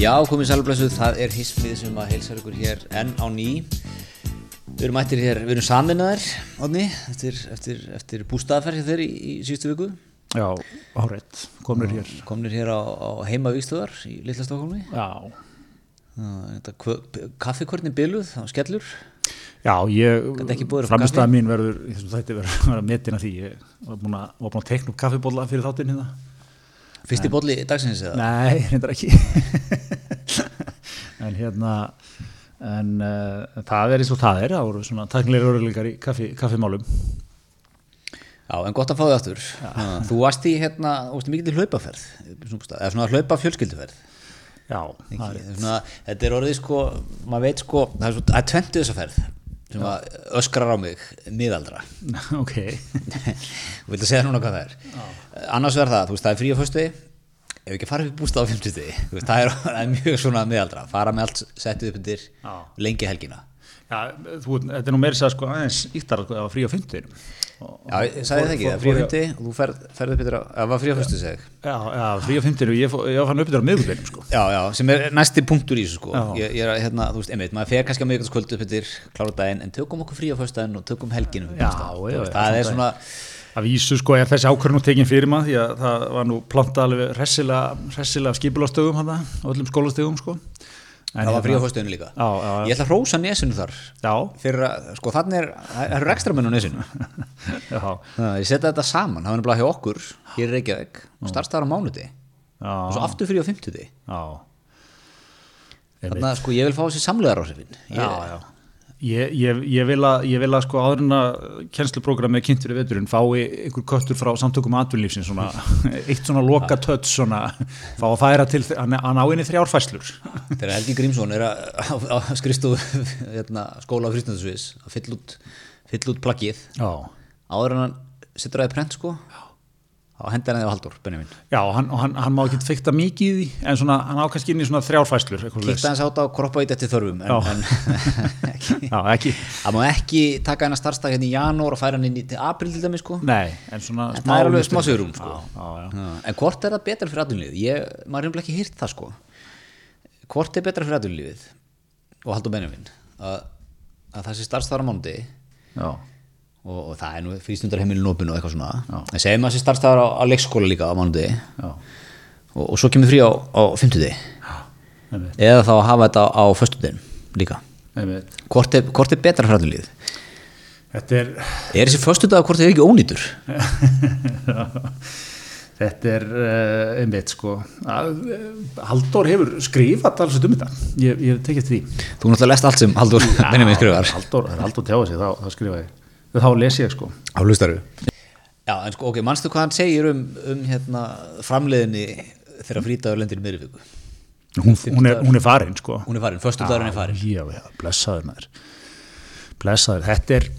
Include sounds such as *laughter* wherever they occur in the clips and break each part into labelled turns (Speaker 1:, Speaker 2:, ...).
Speaker 1: Já, komið sælublesu, það er hismið sem að heilsa ykkur hér enn á ný Við erum ættir hér, við erum saminnaðar Odni, eftir, eftir, eftir bústaðaferð hjá þeir í, í síðustu viku
Speaker 2: Já, áreitt, komur hér
Speaker 1: Komnir hér á, á heimavíkstöðar í Lilla Stokkólmi
Speaker 2: Já,
Speaker 1: Kaffikvörnin biluð á skellur
Speaker 2: já ég,
Speaker 1: Gat ekki boðið upp á
Speaker 2: framistæða
Speaker 1: kaffi?
Speaker 2: mín verður í þessum þætti verður að vera metin af því ég var búin að, var búin að teikna upp kaffibólla fyrir þáttinn hérna
Speaker 1: Fyrsti bolli dagsins eða?
Speaker 2: Nei, reyndar ekki *laughs* En hérna en uh, það er eins og það er það voru svona tæknilega röruleikar í kaffi, kaffimálum
Speaker 1: Já, en gott að fá þig aftur Já, Þú varst í hérna, þú varst í mikil hlaupaferð svona bústað, eða svona hlaupa fjölskylduferð
Speaker 2: Já, *laughs*
Speaker 1: Ekki,
Speaker 2: það er
Speaker 1: svona, þetta er orðið sko maður veit sko, það er, svo, það er tventu þessa ferð sem að öskrar á mig miðaldra, *laughs*
Speaker 2: ok
Speaker 1: þú vilt að segja núna hvað það er annars verður það, þú veist það er frí á föstu ef ekki fara upp í bústað á 50 þú veist, það, er, *laughs* það er mjög svona miðaldra fara með allt settið upp undir
Speaker 2: Já.
Speaker 1: lengi helgina
Speaker 2: Já, þú, þetta er nú meira sér sko aðeins íttar sko, að frí á fymtunum
Speaker 1: Já, ég sagði það ekki, það er frí á 50 og þú ferð, ferð upp yfir á, það var frí á föstu seg
Speaker 2: Já, já, frí á fymtunum, ég, fó- ég fann upp þetta á miðgudeginum sko
Speaker 1: Já, já, sem er næsti punktur í þessu sko
Speaker 2: Já.
Speaker 1: ég, ég er að, hérna, þú veist, einmitt, maður fer kannski að miðvikudagskvöld upp yfir klára daginn, en tökum okkur frí á föstudaginn og tökum helginu
Speaker 2: Já, já, já,
Speaker 1: það er
Speaker 2: samt
Speaker 1: svona,
Speaker 2: Að vísu sko er þessi ákvörnum tekin fyrir maður því að það var nú planta alveg hressilega, hressilega skipulastögum hann og öllum skólastögum sko. En
Speaker 1: það var frí á
Speaker 2: hérna-
Speaker 1: föstudaginn líka
Speaker 2: Já, já, já.
Speaker 1: Ég ætla að hrósa nesinu þar
Speaker 2: Já,
Speaker 1: fyrir að, sko, þannig er, það eru ekstramenn á
Speaker 2: *laughs*
Speaker 1: nesinu
Speaker 2: já,
Speaker 1: Það, Ég setja þetta saman, það var nefnilega hjá okkur hér í Reykjavík, starfstæðar á mánuði
Speaker 2: já,
Speaker 1: og svo aftur frí á fimmtudi
Speaker 2: já.
Speaker 1: Þannig að sko, ég vil fá þessi samlegar ásefin
Speaker 2: já, já. Ég, ég, ég, vil að, ég vil að sko áður en að kennsluprógrammið kynnt fyrir veturinn fái einhver köttur frá samtökum atvinnlífsins svona, *laughs* eitt svona loka tött svona, fá að færa til að ná henni þrjár fæslur
Speaker 1: Þegar Helgi Grímsson er að, að, að skristu *laughs* hérna, skóla á frístundarsviðis að fyll út, fyll út plaggið
Speaker 2: Já,
Speaker 1: áður en hann setur það í prent sko þá hendur hann þig á Haldur, Benjamin
Speaker 2: Já, og hann, og hann, hann má ekki fykta mikið í því en svona, hann á kannski inn í svona þrjárfæslur
Speaker 1: kýtta hans átt á kroppa í þetta þörfum
Speaker 2: Já.
Speaker 1: en, en *laughs* ekki
Speaker 2: Já, ekki
Speaker 1: það má ekki taka hennar starfstak hérna í janúar og færa hann inn í til april til dæmi sko
Speaker 2: Nei, en svona
Speaker 1: en það er alveg smá sigurum sko
Speaker 2: Já, já, já.
Speaker 1: Já, en hvort er það betra fyrir aðunlífið ég, maður er nefnilega ekki hýrt það sko hvort er betra fyrir aðunlífið og Haldur Benjamin að, að það sé starfstæðar á mánuði
Speaker 2: já.
Speaker 1: og, og það er nú frístundarheimilin opinu og eitthvað svona en segjum að það sé starfstæðar á, á leikskóla líka á mánuði
Speaker 2: já.
Speaker 1: og, og svo kemur frí á, á 50
Speaker 2: Einmitt,
Speaker 1: eða þá að hafa þetta á föstudin líka
Speaker 2: einmitt.
Speaker 1: hvort er, hvort er betra fræðunlið
Speaker 2: Þetta er *laughs*
Speaker 1: er þessi föstudag hvort er ekki ónýtur
Speaker 2: þetta er uh, einmitt sko að, eh, Halldór hefur skrifað alls um þetta, ég, ég hef tekið eftir því
Speaker 1: þú náttúrulega lest allt sem Haldur Benjamin skrifar
Speaker 2: Halldór, það er Halldór tjáði sig, þá, þá skrifaði ég þá les ég sko
Speaker 1: á hlustaru já en sko ok, manstu hvað hann segir um, um hérna, framleiðinni þegar frítagur lendir í miðurvíku
Speaker 2: hún, hún, er, hún er farin sko
Speaker 1: hún er farin, föstudagurinn er farin
Speaker 2: Já, já, blessaður maður blessaður, þetta er *clears throat*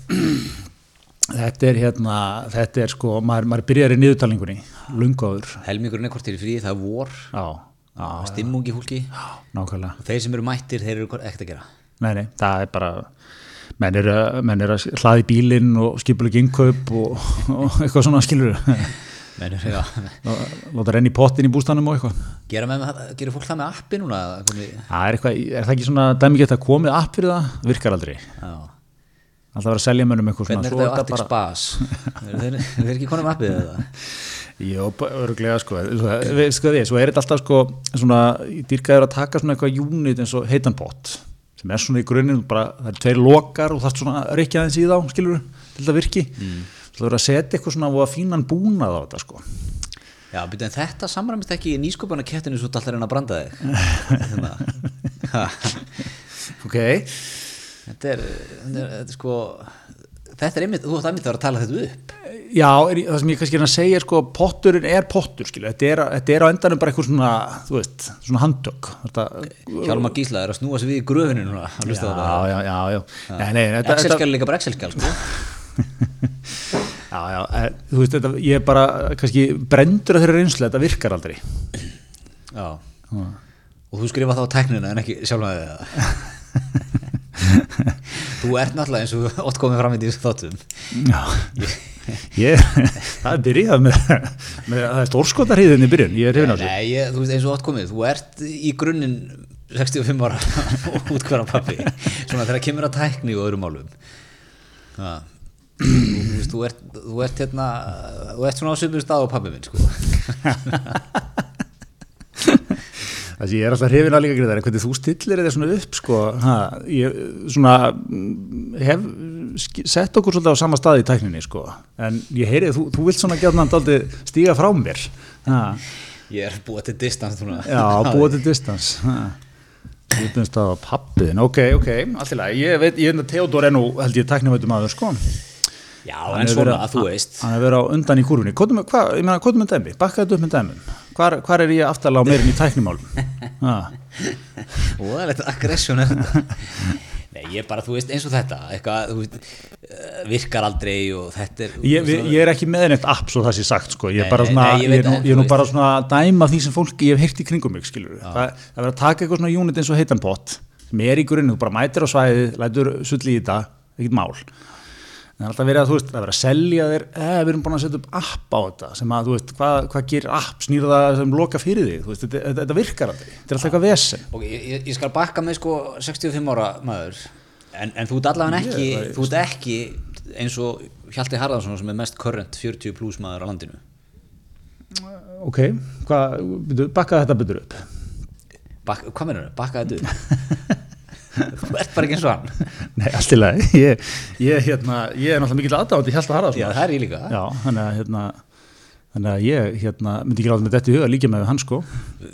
Speaker 2: þetta er hérna þetta er sko, maður, maður byrjar í niðurtalingunni lungaður,
Speaker 1: helmingurinn er hvort er í frí, það er vor
Speaker 2: já, já
Speaker 1: stimmungi húlki
Speaker 2: nákvæmlega,
Speaker 1: og þeir sem eru mættir, þeir eru hvort- ekkert að gera
Speaker 2: nei, nei, það er bara menn eru, menn eru að hlaði bílinn og skipuleg innkaup og, og eitthvað svona skilur *laughs*
Speaker 1: Menur, já,
Speaker 2: láta renni í pottin í bústanum og eitthvað
Speaker 1: gera, með, gera fólk það með appi núna eða hvernig-
Speaker 2: það er eitthvað, er það ekki svona dæmi geta komið app fyrir það, virkar aldrei
Speaker 1: já.
Speaker 2: alltaf að vera að selja mönnum eitthvað svona,
Speaker 1: hvernig er
Speaker 2: svo
Speaker 1: þetta á Arctic Spas eru þeir, eru þeir ekki konum appið eða
Speaker 2: Jó, öruglega sko, Þú- við- sko því, svo er þetta alltaf sko, svona, dýrkaður að taka svona eitthvað unit eins og heitan bot sem er svona í grunninn, bara það eru tveir lokar og það er svona að rykja aðeins í þá, skilur til þetta virki, mm. það verður að setja eitthvað svona voða fínan búnað á þetta sko
Speaker 1: Já, byrju, en þetta samræmist ekki í nýskupana kettinu svo dallar en að branda þig Hérna. Ha,
Speaker 2: Ok,
Speaker 1: Þetta er, þetta er, þetta er sko Þetta er einmitt, þú ætti einmitt að vera að tala þetta upp
Speaker 2: já, er, það sem ég kannski er að segja er sko, potturinn er pottur, skilur þetta er, þetta er á endanum bara eitthvað svona þú veist, svona handtök þetta,
Speaker 1: Hjálmar Gísla er að snúa sig við í gröfinu núna að
Speaker 2: já,
Speaker 1: hlusta á þetta.
Speaker 2: já, já, já, Nei, nei, þetta- þetta-
Speaker 1: Excel-skjál er líka bara Excel-skjál sko.
Speaker 2: Já, já, e, þú veist þetta, ég er bara eh, kannski brendur að þeirra reynslu, þetta virkar aldrei.
Speaker 1: Já
Speaker 2: *laughs*
Speaker 1: Og þú skrifa þá á tæknina en ekki sjálf að það Þú ert náttúrulega eins og oft komið fram í þessu þáttum
Speaker 2: Já, ég, *laughs* það er byrjað með, með það er stórskotarhýðin í byrjun, ég er hrifin á þessu.
Speaker 1: Nei, ég, þú veist eins og oft komið Þú ert í grunninn 65 ára *laughs* útkværa pappi Svona þegar kemur að tækni og öðrum málum ja. þú, veist, þú, ert, þú ert hérna Þú ert svona á sömu stað á pappi minn sko.
Speaker 2: Þessi, ég er alltaf hrifin að líka greiðar, en hvernig þú stillir þetta svona upp, sko, ha, ég svona mm, hef sk- sett okkur svolítið á sama stað í tækninni, sko, en ég heyri, þú, þú vilt svona gjarnan daldið stíga frá mér, ha,
Speaker 1: Ég er búið til distans núna *laughs*
Speaker 2: já, búið til distans, ha. Útumst að pappiðin, ok, ok, allt í lagi, ég veit, ég hérna, er Theodor ennú, held ég, tæknivættum aður, sko.
Speaker 1: Já,
Speaker 2: Hann
Speaker 1: en
Speaker 2: hefur
Speaker 1: svona
Speaker 2: verið
Speaker 1: að þú veist
Speaker 2: hann er verið á undan í kúrunni hvað, ég meina, hvað er með dæmi, bakka þetta upp með dæmum hvar, hvar er ég aftalega á meirin í tæknimálum ha,
Speaker 1: Óðalegt aggression er þetta Nei, ég bara, þú veist, eins og þetta eitthvað, þú veist, eh, virkar aldrei og þetta er
Speaker 2: ég, við- ég er ekki með neitt app svo það sé sagt sko,
Speaker 1: Nei,
Speaker 2: ég er bara
Speaker 1: nei,
Speaker 2: svona,
Speaker 1: nei, ég
Speaker 2: ég,
Speaker 1: veit
Speaker 2: er nú,
Speaker 1: það,
Speaker 2: ég er
Speaker 1: þú
Speaker 2: nú bara svona að dæma því sem fólk ég hef heyrt í kringum mig skilur það, það verið að taka eitthvað svona unit eins og heitan pott sem er í grunni, þú bara mætir á svæðið lætur sulli í þetta, ekkert mál En það er alltaf verið að, þú veist, það er verið að selja þér, eða við erum búin að setja upp app á þetta sem að, þú veist, hvað, hvað gerir app, snýr það sem loka fyrir þig, þú veist, þetta, þetta, þetta virkar aldrei, þetta er alltaf eitthvað vesen.
Speaker 1: Ok, ég, ég- ég skal bakka með sko 65 ára maður en, en þú ert allavega ekki,
Speaker 2: Ég er bara-
Speaker 1: þú ert ekki eins og Hjalti Harðarsson sem er mest current 40 plus maður á landinu
Speaker 2: Ok, hvað, byrju, bakka þetta betur upp. *laughs*
Speaker 1: Bak, hvað meður það? Bakka þetta
Speaker 2: *laughs*
Speaker 1: upp þú ert bara ekki eins og hann
Speaker 2: Nei, allt í lagi, ég, ég, hérna, ég er náttúrulega mikill aðdáðandi Hjalta
Speaker 1: já
Speaker 2: Harðarsson.
Speaker 1: það er ég líka
Speaker 2: Já, þannig að, hérna, þannig að ég, hérna, myndi ekki láta með þetta í huga að líka með hann, sko.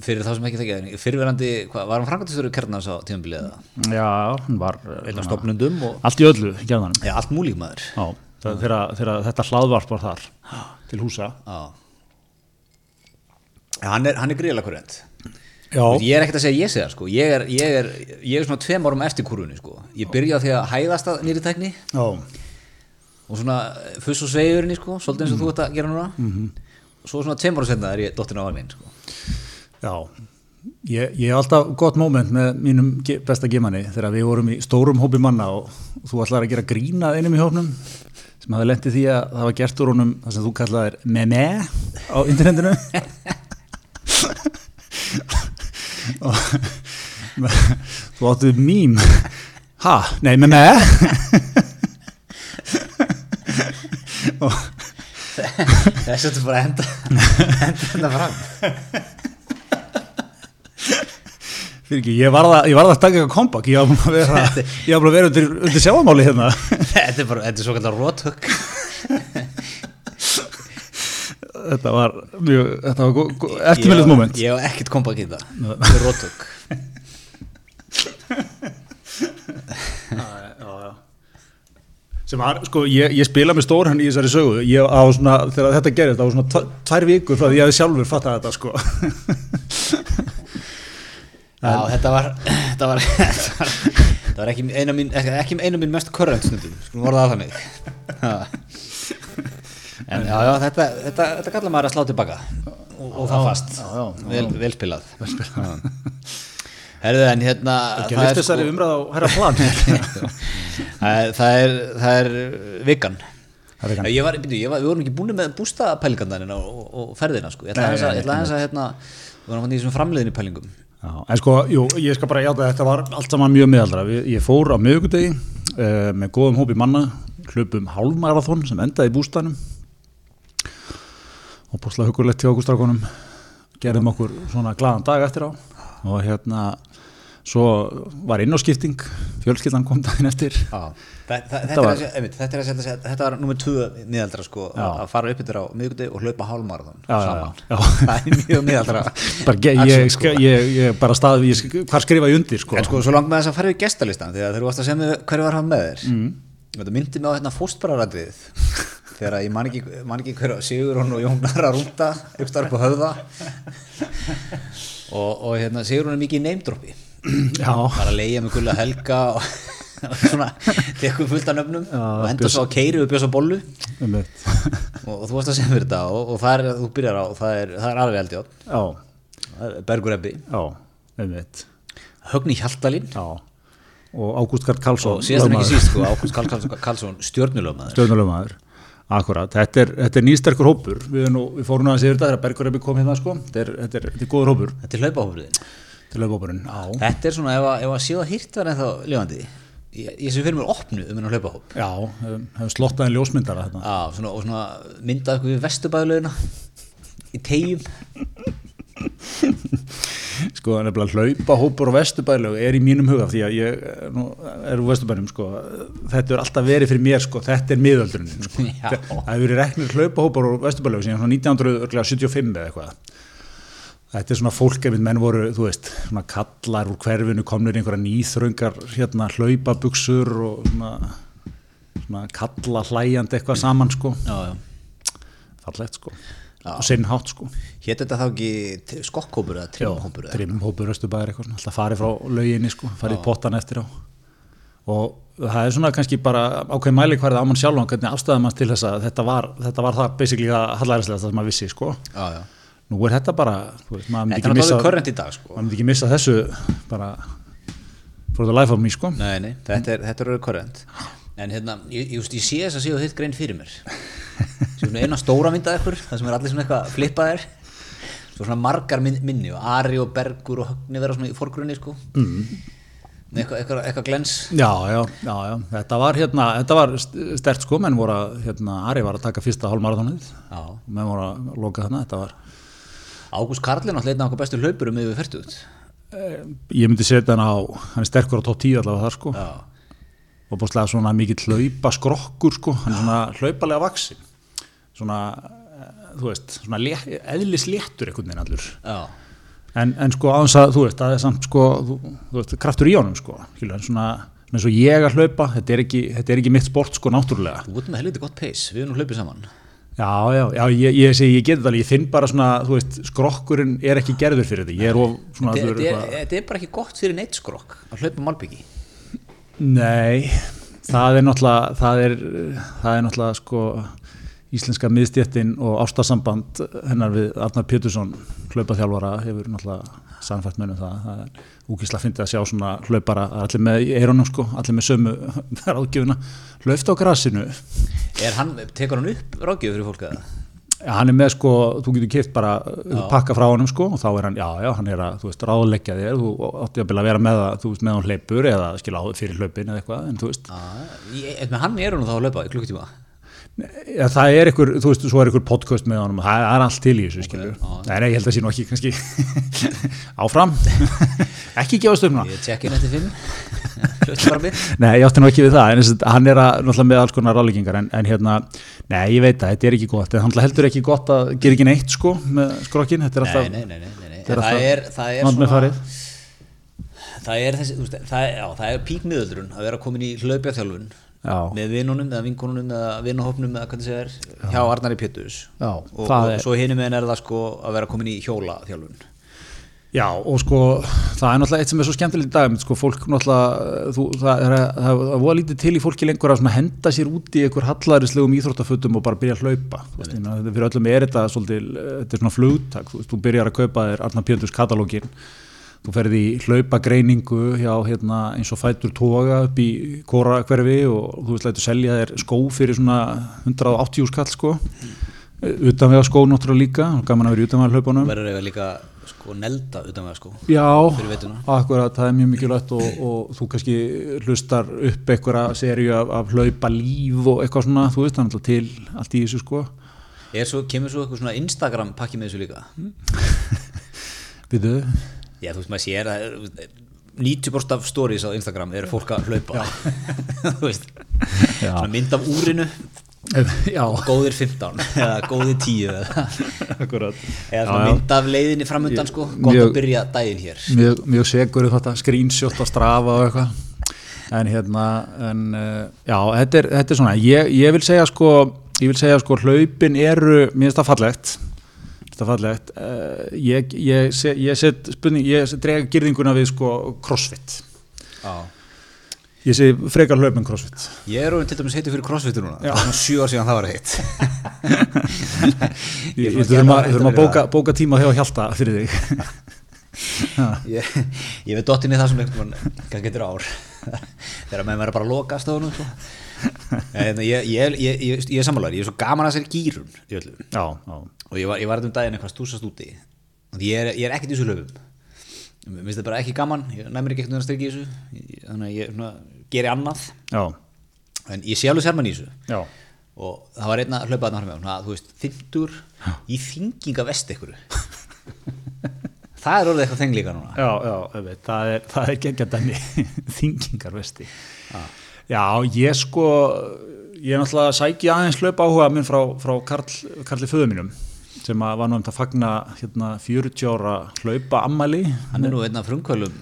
Speaker 1: fyrir þá sem ekki þekkja þenni fyrirverandi, hvað, var hann framkvæmtistöru kernans á tímabilið eða?
Speaker 2: Já, hann var,
Speaker 1: einn af
Speaker 2: hérna,
Speaker 1: stopnundum og
Speaker 2: allt í öllu, gerðanum.
Speaker 1: ja, allt múlík maður
Speaker 2: Já, það- þegar þegar þetta hlaðvarp var þar, til húsa.
Speaker 1: já. Já, hann er, hann er gríðlega current
Speaker 2: Já.
Speaker 1: Þú veist, Ég er ekkert að segja ég sé það sko Ég er, ég er, ég er svona tveim árum eftir kúrunni sko Ég byrja á því að hæðast að nýri tækni
Speaker 2: Já,
Speaker 1: Og svona eh, fuss og sveigjurinn sko Svolítið eins og þú ert að gera núna Og svo svona tveim árum setna er ég dottin á vagnin sko
Speaker 2: Já, ég, ég hef alltaf gott moment með mínum ge- besta gemanni þegar við vorum í stórum hópi manna og þú ætlar að gera grínað einum í hópnum sem hafði lendið því að það var gert úr honum það sem þú kallaðir meme á internetinu *laughs* og *laughs* þú áttuð mím ha, nei meme og
Speaker 1: Þess að þú bara að henda Henda þetta fram
Speaker 2: Fyrir ekki, ég varð að, ég varð að taka eitthvað kompakk, ég var búin að vera, ég var búin að vera undir, undir sjáamáli hérna.
Speaker 1: Þetta er bara, þetta er svo kallar rótök
Speaker 2: Þetta var mjög, þetta var eftirmjöld moment.
Speaker 1: Ég hef ekkert kompa að geta Þetta er rótök
Speaker 2: Sem var, sko, ég, ég spila með stór hann í þessari sögu, ég á svona, þegar þetta gerist, það var svona tv- tvær vikur frá því ég hefði sjálfur fattað þetta, sko.
Speaker 1: Já, þetta var *clears throat* Þetta var, *laughs* þetta var, þetta var ekki einu mín, ekki, ekki einu mín mest current stundum Skulum orða það þannig Já. En já, já, þetta, þetta, þetta kallar maður að slá tilbaka og, og það fast
Speaker 2: já, já, já.
Speaker 1: vel, vel spilað Já. Herðu en hérna
Speaker 2: Ekki að lyfta þessari umræð á herra plan.
Speaker 1: það, er, það, er, það er vikan
Speaker 2: Það er vikan.
Speaker 1: Ég var, byrju, ég var, við vorum ekki búin með bústapælingarnarinn og, og, og ferðina sko. ég ætla
Speaker 2: Nei,
Speaker 1: aðeins að
Speaker 2: nei,
Speaker 1: ég ætla aðeins að, hérna, við vorum að fara í þessum framleiðinu pælingum
Speaker 2: Já, en sko, jú, ég skal bara játa að þetta var allt saman mjög meðaldra. Við- Ég fór á miðugudegi uh, með góðum hópi manna, hlupum hálfmarathon sem endaði í bústanum og bústlega hugurlegt hjá okkur strákunum, gerðum okkur svona glaðan dag eftir á og hérna, svo var inn á skipting, fjölskyldan kom daginn eftir.
Speaker 1: Já, þa- þa- þetta
Speaker 2: Þetta
Speaker 1: er
Speaker 2: var-
Speaker 1: að segja- einmitt, þetta er að segja- þetta var nummer 2 miðaldra sko,
Speaker 2: Já.
Speaker 1: að fara upp yfir á miðugdegi og hlaupa hálmarathon
Speaker 2: Já, já,
Speaker 1: saman
Speaker 2: já, já.
Speaker 1: *laughs* það er mjög miðaldra
Speaker 2: Bara, ge-
Speaker 1: Action,
Speaker 2: ég,
Speaker 1: sko.
Speaker 2: ég, ég, ég bara stað, ég, sk- hvar skrifa ég undir sko?
Speaker 1: en sko, svo langt með þess að fara við gestalistan þegar þeir varst að segja mig hverju var hann með þér mm. þetta myndi mig á hérna fóstbararadrið *laughs* þegar að ég man ekki, man ekki hverju Sigur og Jón Nara rúnda uppstar upp á höfða
Speaker 2: *laughs*
Speaker 1: og, og hérna, Sigur er mikið í neymdropi
Speaker 2: Já,
Speaker 1: bara að leigja með gulla helga og, og svona, tekum fullt af nöfnum
Speaker 2: Já,
Speaker 1: og enda svo að keiri upp bjösa bollu
Speaker 2: um
Speaker 1: og, og þú varst að segja mér þetta og, og það er, þú byrjar á, það er, það er alveg eldjátt
Speaker 2: *laughs* Já,
Speaker 1: Bergur Ebbi,
Speaker 2: já, um
Speaker 1: Högni Hjaltalín
Speaker 2: Já, og Ágúst Karl Karlsson
Speaker 1: og síðast en ekki
Speaker 2: lögmaður.
Speaker 1: síst sko, Ákvæmst Karl Karlsson, Karlsson stjörnulöfmaður
Speaker 2: stjórnulegumæður Akkurat, þetta er, þetta er nýsterkur hópur við, erum nú, við fórum að segja þetta þegar Bergur hefði komið hérna sko. þetta, er, þetta, er, þetta er góður hópur
Speaker 1: þetta er hlaupahófriðin
Speaker 2: til löfbópurinn Já,
Speaker 1: þetta er svona ef að, ef að síða hýrt var ennþá lifandi ég, ég sem fyrir mér opnu um hennar hlaupahóp
Speaker 2: Já hefum hefum slottaði ljósmyndara hérna.
Speaker 1: á, svona, og svona myndað eitthvað við vesturbæðlaugina í tegjum
Speaker 2: sko nefnilega hlaupahópur og vesturbælug er í mínum huga því að ég eh, nú, er úr vesturbælum sko þetta er alltaf verið fyrir mér sko, þetta er miðöldrunin sko.
Speaker 1: Já.
Speaker 2: það hefur verið reknir hlaupahópur og vesturbælug síðan svona 1975 eða eitthvað Þetta er svona fólk ef menn voru, þú veist, svona kallar úr hverfinu komnir í einhverja nýþröngar hérna hlaupabuxur og svona, svona kalla hlæjandi eitthvað saman sko,
Speaker 1: já, já.
Speaker 2: fallegt sko, og sinnhátt sko.
Speaker 1: hétt þetta þá ekki skokkhópur eða trimhópur eða?
Speaker 2: trimmhópur östubæðir eitthvað svona, alltaf farið frá lauginni sko, farið í pottan eftir á og það er svona kannski bara ákveð mæli hverða á mann sjálfan hvernig afstæða mann til þess að þetta var, þetta var það basically það hallæðislega það sem maður vissi sko
Speaker 1: já, já.
Speaker 2: nú er þetta bara, þú veist, maður myndi
Speaker 1: þetta er
Speaker 2: ekki
Speaker 1: náttúrulega
Speaker 2: missa
Speaker 1: körrent í dag sko
Speaker 2: maður myndi ekki missa þessu bara for the life of me sko
Speaker 1: Nei, nei, þetta er, þetta er orðið korrent En hérna, ég, ég, veist, ég sé þess að séu þitt grein fyrir *laughs* mér Svo svona eina stóra myndað ykkur Það sem er allir svona eitthvað flippaðir Svo svona margar minn, minni og Ari og Bergur og Högni vera svona í forgrunni sko mm. Eitthvað, eitthvað, eitthvað glens
Speaker 2: já, já, já, já, þetta var hérna þetta var st- stert sko, menn voru að hérna, Ari var að taka fyrsta hálfmarathonið
Speaker 1: Já,
Speaker 2: menn voru að loka þarna, þetta var
Speaker 1: Ágúst Karlin átt leitna okkur bestu hlaupurum yfir fyrtuð
Speaker 2: Eh, ég myndi setja hann á, hann er sterkur á top 10 allavega þar sko
Speaker 1: Já,
Speaker 2: og búinlega svona mikill hlaupa skrokkur sko, hann er svona hlaupalega vaksin svona, eh, þú veist svona lé, eðlis léttur einhvern veginn allur
Speaker 1: já,
Speaker 2: en, en sko aðeins að, þú veist, það er samt sko, þú, þú veist, kraftur í honum sko Skilu, en svona, svona eins og ég að hlaupa þetta er, ekki, þetta er ekki mitt sport sko náttúrulega
Speaker 1: þú ert með helviti gott pace Við erum nú hlaupið saman
Speaker 2: Já, já, já, ég, ég segi, ég geti þetta alveg, ég finn bara svona, þú veist, skrokkurinn er ekki gerður fyrir þetta, ég er of svona,
Speaker 1: Þetta
Speaker 2: þú
Speaker 1: er,
Speaker 2: veist,
Speaker 1: þetta er, þetta er bara ekki gott fyrir neitt skrokk að hlaupa um malbyggi
Speaker 2: Nei, það er náttúrulega það er, það er náttúrulega sko íslenska miðstjettin og ástarsamband hennar við Arnar Pétursson hlaupaþjálfara hefur náttúrulega sannfært mennum það, það er úkislega fyndið að sjá svona hlaupara, það er allir með eironum sko, allir með sömu *laughs* ráðgjöfuna hlauft á grasinu
Speaker 1: Er hann, tekur hann upp ráðgjöf fyrir fólk eða?
Speaker 2: Ja, hann er með sko, þú getur keift bara já. pakka frá honum sko og þá er hann, já, já, hann er að, þú veist, ráðleggja þér, þú átti að vera með það, þú veist, með hann hleypur eða skilja á fyrir hlaupin eða eitthvað, en þú veist,
Speaker 1: eh, Með hann eru nú þá að löpa í klukkutíma
Speaker 2: Ah. Já, það er einhver, þú veist, svo er einhver podcast með honum, það það er allt til í þessu, skilur. Nei, nei, ég held að sé nú ekki, kannski, *laughs*
Speaker 1: *laughs*
Speaker 2: áfram, ekki gefast um hana.
Speaker 1: Ég tjekk inn eftir fimm *laughs* Hlutvarmi
Speaker 2: Nei, ég átti nú ekki við það, en þess að hann er að, náttúrulega með alls konar ráleggingar, en, en hérna, nei, ég veit að þetta er ekki gott, en hann náttúrulega heldur ekki gott að gera ekki neitt, sko, með skrokkin, þetta er
Speaker 1: Nei,
Speaker 2: alltaf,
Speaker 1: nei, nei, nei, nei, nei.
Speaker 2: þetta
Speaker 1: Það er, það er
Speaker 2: vand með
Speaker 1: svona
Speaker 2: farið.
Speaker 1: Það er þessi, þú veist, það er, já, það er píkmiðöldrun að vera komin í hlaupjaþjálfun
Speaker 2: Já.
Speaker 1: með vinunum eða vinkonunum eða vinnahopnum eða hvernig það er hjá Arnari Pétus
Speaker 2: Já,
Speaker 1: og, og,
Speaker 2: það er-
Speaker 1: svo hinum meðan er það sko að vera komin í hjólaþjálfun
Speaker 2: Já og sko það er náttúrulega eitt sem er svo skemmtilegt í dag einmitt, sko, fólk náttúrulega eh, þú, það er að- það er voða lítið til í fólki lengur að svona henda sér út í einhver hallarislegum íþróttafötum og bara byrja að hlaupa Þú veist, ég meina, þetta- fyrir öllum er þetta svolítið þetta er svona flugtak, þú, veist, þú byrjar að kaupa þér Arnar Péturs katalógin þú ferði í hlaupagreiningu hjá hérna, eins og fætur toga upp í kóra hverfi og þú veist lætur selja þér skó fyrir svona 180 skall sko utanvega skó náttúrulega líka gaman að vera utanvega hlaupunum
Speaker 1: og verður eiga líka sko nelda utan með sko
Speaker 2: Já,
Speaker 1: fyrir veituna.
Speaker 2: akkurat, það er mjög mikilvægt og, og þú kannski hlustar upp einhverja serju af, af hlaupa líf og eitthvað svona, þú veist, það er alltaf til allt í þessu sko.
Speaker 1: er svo, kemur svo eitthvað svona Instagram pakki með þessu líka
Speaker 2: Hm? Við
Speaker 1: Já, þú veist, maður sér að 90% af stories á Instagram eru fólk að hlaupa *laughs* þú veist,
Speaker 2: Já.
Speaker 1: svona mynd af úrinu
Speaker 2: *laughs* Já,
Speaker 1: góðir *laughs* 15 eða góðir 10 eða,
Speaker 2: akkurat.
Speaker 1: eða svona mynd af leiðinni framundan sko, gott
Speaker 2: Mjög-
Speaker 1: að byrja daginn hér
Speaker 2: Mjög, mjög segur um þetta, screenshot að strafa og eitthvað. En hérna, en, eh, já, þetta er, þetta er svona, ég, ég vil segja sko, ég vil segja sko, hlaupin eru, mér finnst það fallegt, Þetta er fallegt. Eh, Ég, ég, se- ég set, spurning, ég set drega girðinguna við sko crossfit.
Speaker 1: Já.
Speaker 2: Ég segi frekar hlaup en crossfit.
Speaker 1: Ég er orðin til dæmis heiti fyrir crossfitur núna það er svona 7 ár síðan það var *laughs* heitt
Speaker 2: Ég,
Speaker 1: Ég
Speaker 2: ég
Speaker 1: ætla að gera
Speaker 2: þurfum að,
Speaker 1: það
Speaker 2: þurfum að
Speaker 1: rétt að
Speaker 2: *laughs* bóka, bóka tíma hjá Hjalta fyrir þig.
Speaker 1: ég, ég veit dottin í það sem einhvern veginn hvað getur ár þegar menn verður bara að loka stofunum sko. en ég, ég, ég, ég, ég er sammálaður ég er svo gaman að sér gýrun í öllu
Speaker 2: já, já,
Speaker 1: og ég var, ég var þetta um daginn eitthvað stúsast úti og ég er, ég er ekkert í þessu löfum mér finnst það bara ekki gaman, ég næmir ekki eitthvað að styrkja í þessu Ég- þannig að ég svona, geri annað
Speaker 2: já,
Speaker 1: en ég sé alveg sérmann í þessu
Speaker 2: já.
Speaker 1: og það var einn að hlaupa þarna hann með þú veist, þyndur í þynginga vest ykkur það er orðið eitthvað þenglíka núna
Speaker 2: Já, já, auðvitað, það er, það er geggjað dæmi *laughs* þingingar vesti. Já, ég sko, ég er náttúrulega að sækja aðeins hlaup áhuga minn frá, frá Karl, Karli föðu mínum sem að var nú um þetta að fagna hérna, 40 ára hlaupa ammæli.
Speaker 1: hann er nú einn af frumkvölum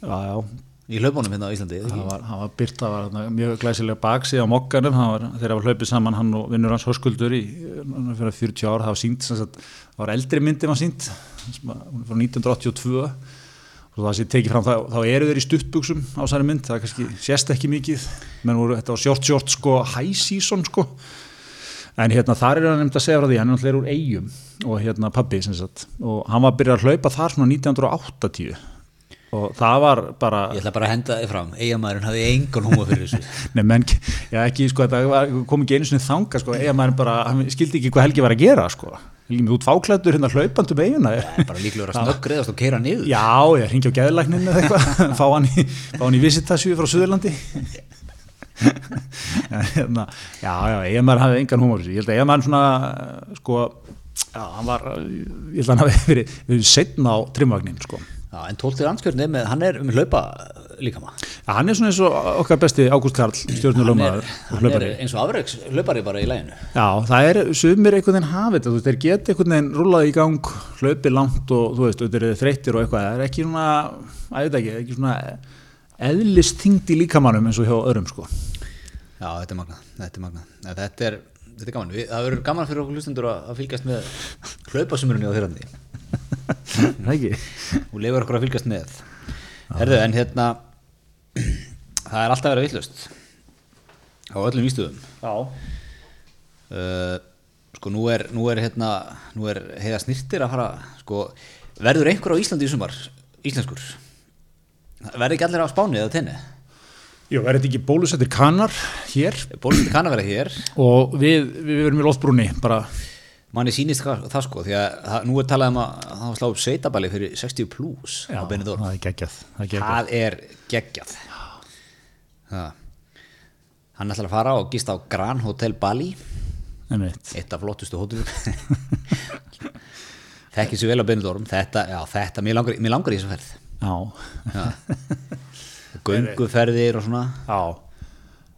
Speaker 2: Já, já,
Speaker 1: í hlaupunum hérna á Íslandi
Speaker 2: það var, hann var byrt, það var þarna mjög glæsilega baksið á mokkanum, það var, þegar var hlaupið saman hann og vinnur hans höskuldur í núna fyrir 40 ára, það var sínt, sem sagt, það var eldri myndin var sínt, hún er frá 1982 og það sé tekið fram, þá, þá eru þeir í stuttbuksum á særi mynd, það kannski sést ekki mikið, menn voru, þetta var short short sko, high season sko, En hérna þar er hann nefnd að segja frá því, hann er náttúrulega úr eigum og hérna pabbi sem sagt og hann var að byrja að hlaupa þar svona 1980 og það var bara
Speaker 1: ég ætla bara að henda þið fram eigamæðurinn hafði engan húma fyrir þessu
Speaker 2: Nei, menn, já, ekki, sko, þetta var, kom ekki einu sinni þanga, sko, eða maður bara, hann skildi ekki hvað Helgi var að gera, sko. Helgi, þú ert fáklættur hérna hlaupandum eiguna.
Speaker 1: *laughs* bara líklega að snöggriðast og keira niður
Speaker 2: Já, ég hringi á geðlækninu eða eitthvað, *laughs* fá hann í, fá hann í visitasju frá
Speaker 1: *laughs*
Speaker 2: Suðurlandi. En hérna, já, já, eða maður hafði engan humor, ég held að eða maður svona, sko, já, hann var, ég held að hann hafi verið, verið setna á trimvagnin, sko.
Speaker 1: Já, en 12. landskjörn er með, hann er um hlaupa líka maður
Speaker 2: Já, hann er svona eins og okkar besti Ágúst Karl,
Speaker 1: hann er,
Speaker 2: stjórnulöfmaður og
Speaker 1: hann er
Speaker 2: hlaupari.
Speaker 1: eins og afreiks hlaupari bara í læginu
Speaker 2: Já, það er, sumir einhvern veginn hafa þetta, þú veist, þeir geta einhvern veginn rúlað í gang, hlaupið langt og þú veist, auðvitað eru þeir þreyttir og eitthvað, það er ekki svona, að þetta ekki, ekki svona eðlisþyngd í líkamannum eins og hjá öðrum, sko.
Speaker 1: já, þetta er magnað, þetta er magnað Nei, þetta er, þetta er gaman, Við, það verður gaman fyrir okkur hlustendur að, að fylgjast með hlaupasumurinn á þyrrandi
Speaker 2: Það ekki?
Speaker 1: og lefur okkur að fylgjast með herðu, en hérna *clears throat* það er alltaf að vera vittlust á öllum vístöðum
Speaker 2: Já.
Speaker 1: uh, sko nú er, nú er hérna, nú er heiða snirtir að fara sko, verður einhver á Íslandi í sumar íslenskur verður ekki allir á Spáni eða tenni
Speaker 2: Jú, er þetta ekki bólusettir kanar hér
Speaker 1: bólum kann að vera hér
Speaker 2: og við, við verum í loftbrúni, bara,
Speaker 1: manni sýnist það, það sko því að það, nú er talað um að það var slá upp sveitabæli fyrir 60 plus á Benidorm
Speaker 2: það er geggjað, það er geggjað.
Speaker 1: það er geggjað ha. hann ætlar að fara og gista á Gran Hotel Bali
Speaker 2: Nei, mitt.
Speaker 1: eitt af flottustu hótelum þekkir svo vel á Benidorm þetta, já þetta, mér langar, mér langar í þessu ferð
Speaker 2: Já.
Speaker 1: gönguferðir og svona
Speaker 2: Já.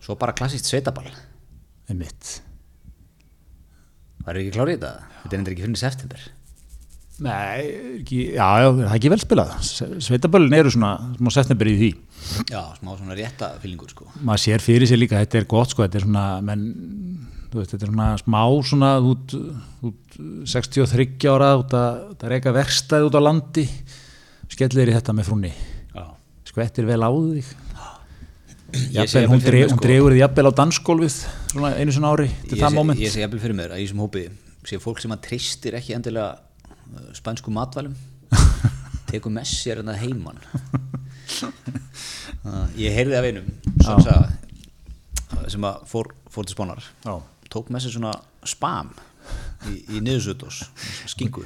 Speaker 1: svo bara klassist sveitaball það
Speaker 2: Nei, mitt.
Speaker 1: er ekki klárið þetta, þetta er endur ekki fyrir september
Speaker 2: Nei, ekki, já, já, það er ekki velspilað. Sveitaböllin eru svona, smá setnabur í því.
Speaker 1: já, smá svona rétta fyllingur sko
Speaker 2: maður sér fyrir sér líka að þetta er gott sko, þetta er svona menn, þú veist, þetta er svona smá svona út, út 63 ára út að, út að reyka verkstæði út á landi skellir í þetta með frúnni
Speaker 1: já.
Speaker 2: skvettir vel á þig
Speaker 1: ég sé
Speaker 2: jafnvel,
Speaker 1: jafnvel fyrir
Speaker 2: hún, dreg,
Speaker 1: mér
Speaker 2: hún
Speaker 1: sko
Speaker 2: dregur þið jafnvel á dansgólfið svona einu svona ári til
Speaker 1: ég
Speaker 2: það
Speaker 1: sé,
Speaker 2: moment
Speaker 1: ég sé jafnvel fyrir mér að í þessum hópi sé fólk sem að treystir ekki endilega uh, spænsku
Speaker 2: *laughs*
Speaker 1: matvælum tekur með sér en það heiman uh, ég heyrði af einum sem, sagði- sem að fór, fór til spánar
Speaker 2: Já.
Speaker 1: tók með sér svona spam í, í
Speaker 2: *laughs*
Speaker 1: niðursötos skingu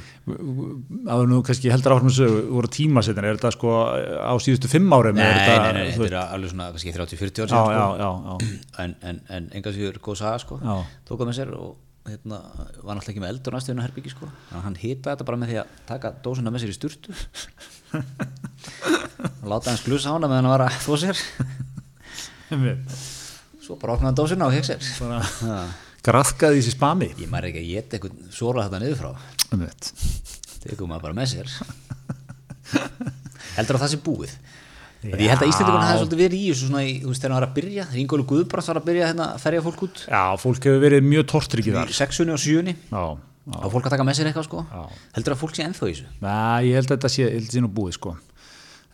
Speaker 2: áður nú kannski heldur áfram þessu voru tímasettin, er þetta sko á síðustu fimm árum
Speaker 1: Nei,
Speaker 2: er
Speaker 1: nei,
Speaker 2: þetta,
Speaker 1: nei, nei,
Speaker 2: þú
Speaker 1: þetta er alveg svona kannski 30-40 ára
Speaker 2: Já,
Speaker 1: síðan
Speaker 2: já,
Speaker 1: sko.
Speaker 2: já, já.
Speaker 1: En, en, en enga sigur góð saga sko
Speaker 2: Já.
Speaker 1: tók að með sér og hérna, var náttúrulega ekki með eldur næstu hérna herbyggi sko Þannig að hann hitaði þetta bara með því að taka dósuna með sér í sturtu
Speaker 2: *laughs*
Speaker 1: og láta hann sklusa hana með hann var að þó sér
Speaker 2: Einmitt.
Speaker 1: svo bara opnaði hann dósuna og hekk sér
Speaker 2: Bara-
Speaker 1: Ha.
Speaker 2: graðkaði þessi spami
Speaker 1: ég mær ekki að ég geta eitthvað svora þetta niður frá
Speaker 2: einmitt
Speaker 1: tekum maður bara með sér heldur að það sé búið Því ég held að Íslandingun hafi svolítið verið í þessu svona í, þú veist þegar hann var að byrja, þegar Ingólu Guðbrands var að byrja hérna að ferja fólk út
Speaker 2: Já, fólk hefur verið mjög tortrykið þar.
Speaker 1: í sexunni og sjöunni
Speaker 2: Já, já.
Speaker 1: og fólk að taka með sér eitthvað sko
Speaker 2: Já.
Speaker 1: heldur að fólk sé ennþá í þessu
Speaker 2: Næ, ég held að þetta sé, ég held að sé nú búið sko.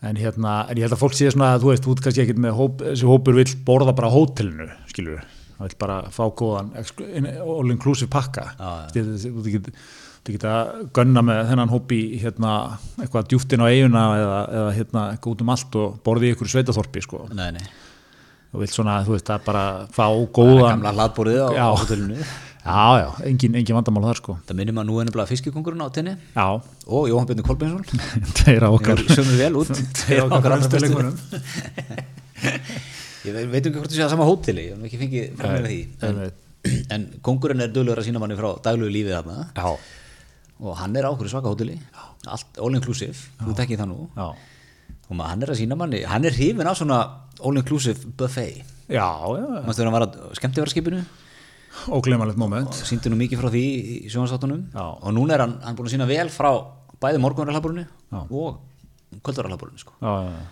Speaker 2: En hérna, en ég held að fólk sé svona að þú veist, þú ert kannski ekkert með hóp, þessi hópur vill borða bara á hótelinu, skilur við. Það vill bara fá góðan ex- all inclusive pakka.
Speaker 1: Já, já.
Speaker 2: Þú veist, Þú ert ekki, til geta gönna með þennan hópi hérna, eitthvað djúftin á eiguna eða, eða hérna, eitthvað út um allt og borði í ykkur sveitaþorpi sko.
Speaker 1: Nei, nei,
Speaker 2: og vilt svona, þú veist, að bara fá
Speaker 1: það er
Speaker 2: góðan
Speaker 1: gamla hlaðborðið á
Speaker 2: Já.
Speaker 1: hótelinu
Speaker 2: já, já, engin, engin vandamál þar sko
Speaker 1: Það minnum að nú ennum blá fiskikongurinn á tenni
Speaker 2: já, *laughs*
Speaker 1: og Jóhann Björn Kolbjörnsson
Speaker 2: þeirra okkar
Speaker 1: sömur vel út
Speaker 2: þeirra okkar
Speaker 1: allra
Speaker 2: fremstu
Speaker 1: bestu.
Speaker 2: leikmönnum
Speaker 1: Ég veit- veit ekki hvort þú sé að sama hóteli ég hef nú ekki fengið fram með því en,
Speaker 2: einmitt.
Speaker 1: *clears throat* en kongurinn er dölur að sína manni frá daglegu lífið þarna
Speaker 2: já,
Speaker 1: og hann er á okkur svaka hóteli allt all inclusive, þú tekkið það nú
Speaker 2: já,
Speaker 1: og maður, hann er að sína manni, hann er hrifin af svona all inclusive buffet
Speaker 2: já, já
Speaker 1: mannstu þegar hann var að skemmti vera skipinu
Speaker 2: ógleimalegt moment
Speaker 1: og síndi nú mikið frá því í sjónastáttunum
Speaker 2: Já.
Speaker 1: og núna er hann, hann búin að sína vel frá bæði morgunarhlaðbúrinu og kvöldurarhlaðbúrinu sko.
Speaker 2: já, já, já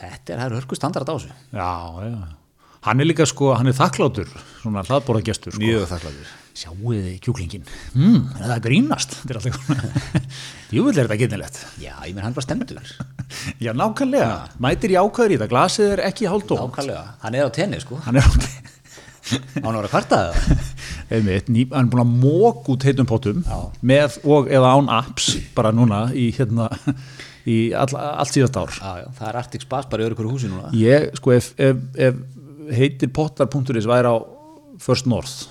Speaker 1: þetta er, það er hörku standard á þessu
Speaker 2: Já, já. Hann er líka sko, hann er þakklátur, svona hlaðbóragestur sko.
Speaker 1: þakkláttur
Speaker 2: Sjáuði kjúklingin. Mm, er það að grínast? Þetta er alltaf *laughs* svona. Júvill er þetta gennilegt.
Speaker 1: já, ég menn hann var stemdur *laughs*
Speaker 2: Já, nákvæmlega. Mætir jákvæður í þetta, glasið er ekki hálftóm.
Speaker 1: ákallega, hann er á tenni sko
Speaker 2: Hann er átti.
Speaker 1: hann var að kvartaða *laughs* það
Speaker 2: *laughs* Einmitt, ný, hann er búin að mók út heitum pottum
Speaker 1: Já.
Speaker 2: með og eða án apps bara núna í hérna *laughs* í all, allt síðast ár.
Speaker 1: já, já, það er Arctic Spas bara í öru hverju húsi núna
Speaker 2: Ég, sko, ef, ef, ef heitir pottar.is væri á First North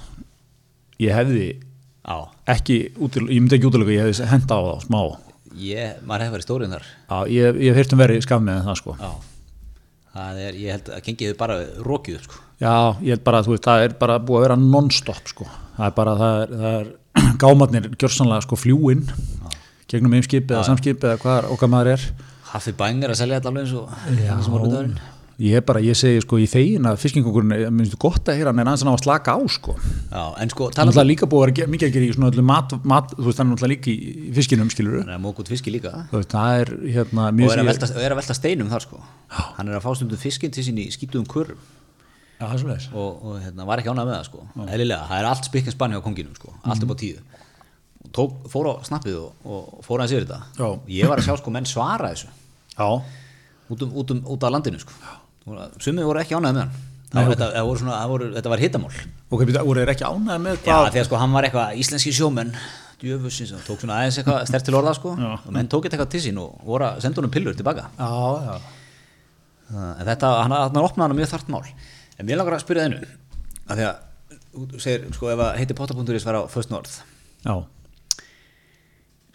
Speaker 2: ég hefði
Speaker 1: já,
Speaker 2: ekki, útil, ég myndi ekki útilega ég hefði henda á þá, smá
Speaker 1: ég, maður hefur verið stórinn þar
Speaker 2: Já, ég, ég hef heyrt um verið skaf með það sko
Speaker 1: já, það er, ég held að gengið þið bara rókið upp sko
Speaker 2: Já, ég held bara, þú veist, það er bara búið að vera non-stop sko, það er bara það er, það er *clears throat* gámatnir gjörsanlega sko fljúinn, gegnum eimskip eða samskip eða hvað okkar maður er
Speaker 1: Hafi Bang er að selja þetta alveg eins og eins og morgundagurinn
Speaker 2: Ég er bara, ég segi sko í þegin að fiskingungurinn, ég minnst gott að heyra hann en aðeins hann á að slaka á sko
Speaker 1: Já, en sko,
Speaker 2: Það er
Speaker 1: tala
Speaker 2: náttúrulega líka búið að vera ge- mikið að gera í svona öllu mat, mat þú veist, það er náttúrulega líka í í fiskinum, skilur
Speaker 1: hann er að móka út fiski líka
Speaker 2: þú veist, það er hérna
Speaker 1: og er, að
Speaker 2: ég-
Speaker 1: velta, og er að velta steinum þar sko hann er að fá stundum fiskinn til sín í skýtuðum kurrum
Speaker 2: Já, það er svoleiðis.
Speaker 1: og, og hérna, var ekki ánað með það sko eðlilega, það er allt spikkinn spann hjá konginum sko allt
Speaker 2: Mhm.
Speaker 1: upp á tíu Og Tók, fór á snappið og, og fór aðeins yfir þetta
Speaker 2: Já.
Speaker 1: ég var að sjá sko menn svara þessu
Speaker 2: Já,
Speaker 1: út, um, út, um, út af landinu sko Voru- sumir voru ekki ánað með hann það, var, þetta, það voru svona, það voru, þetta var hittamál
Speaker 2: ok, býta, voru þeir ekki ánægð með
Speaker 1: Já,
Speaker 2: hvað
Speaker 1: þegar sko hann var eitthvað íslenski sjómenn djöfusins, hann tók svona aðeins eitthvað stert til orða sko,
Speaker 2: Já.
Speaker 1: og menn tók eitthvað til sín og voru að senda honum pillur tilbaka
Speaker 2: Já, já,
Speaker 1: en þetta, hann, hann opnaði hann mjög þart mál en mér langar að spyrja þennu að því að, þú segir, sko ef að heiti potta.is var á First North
Speaker 2: já,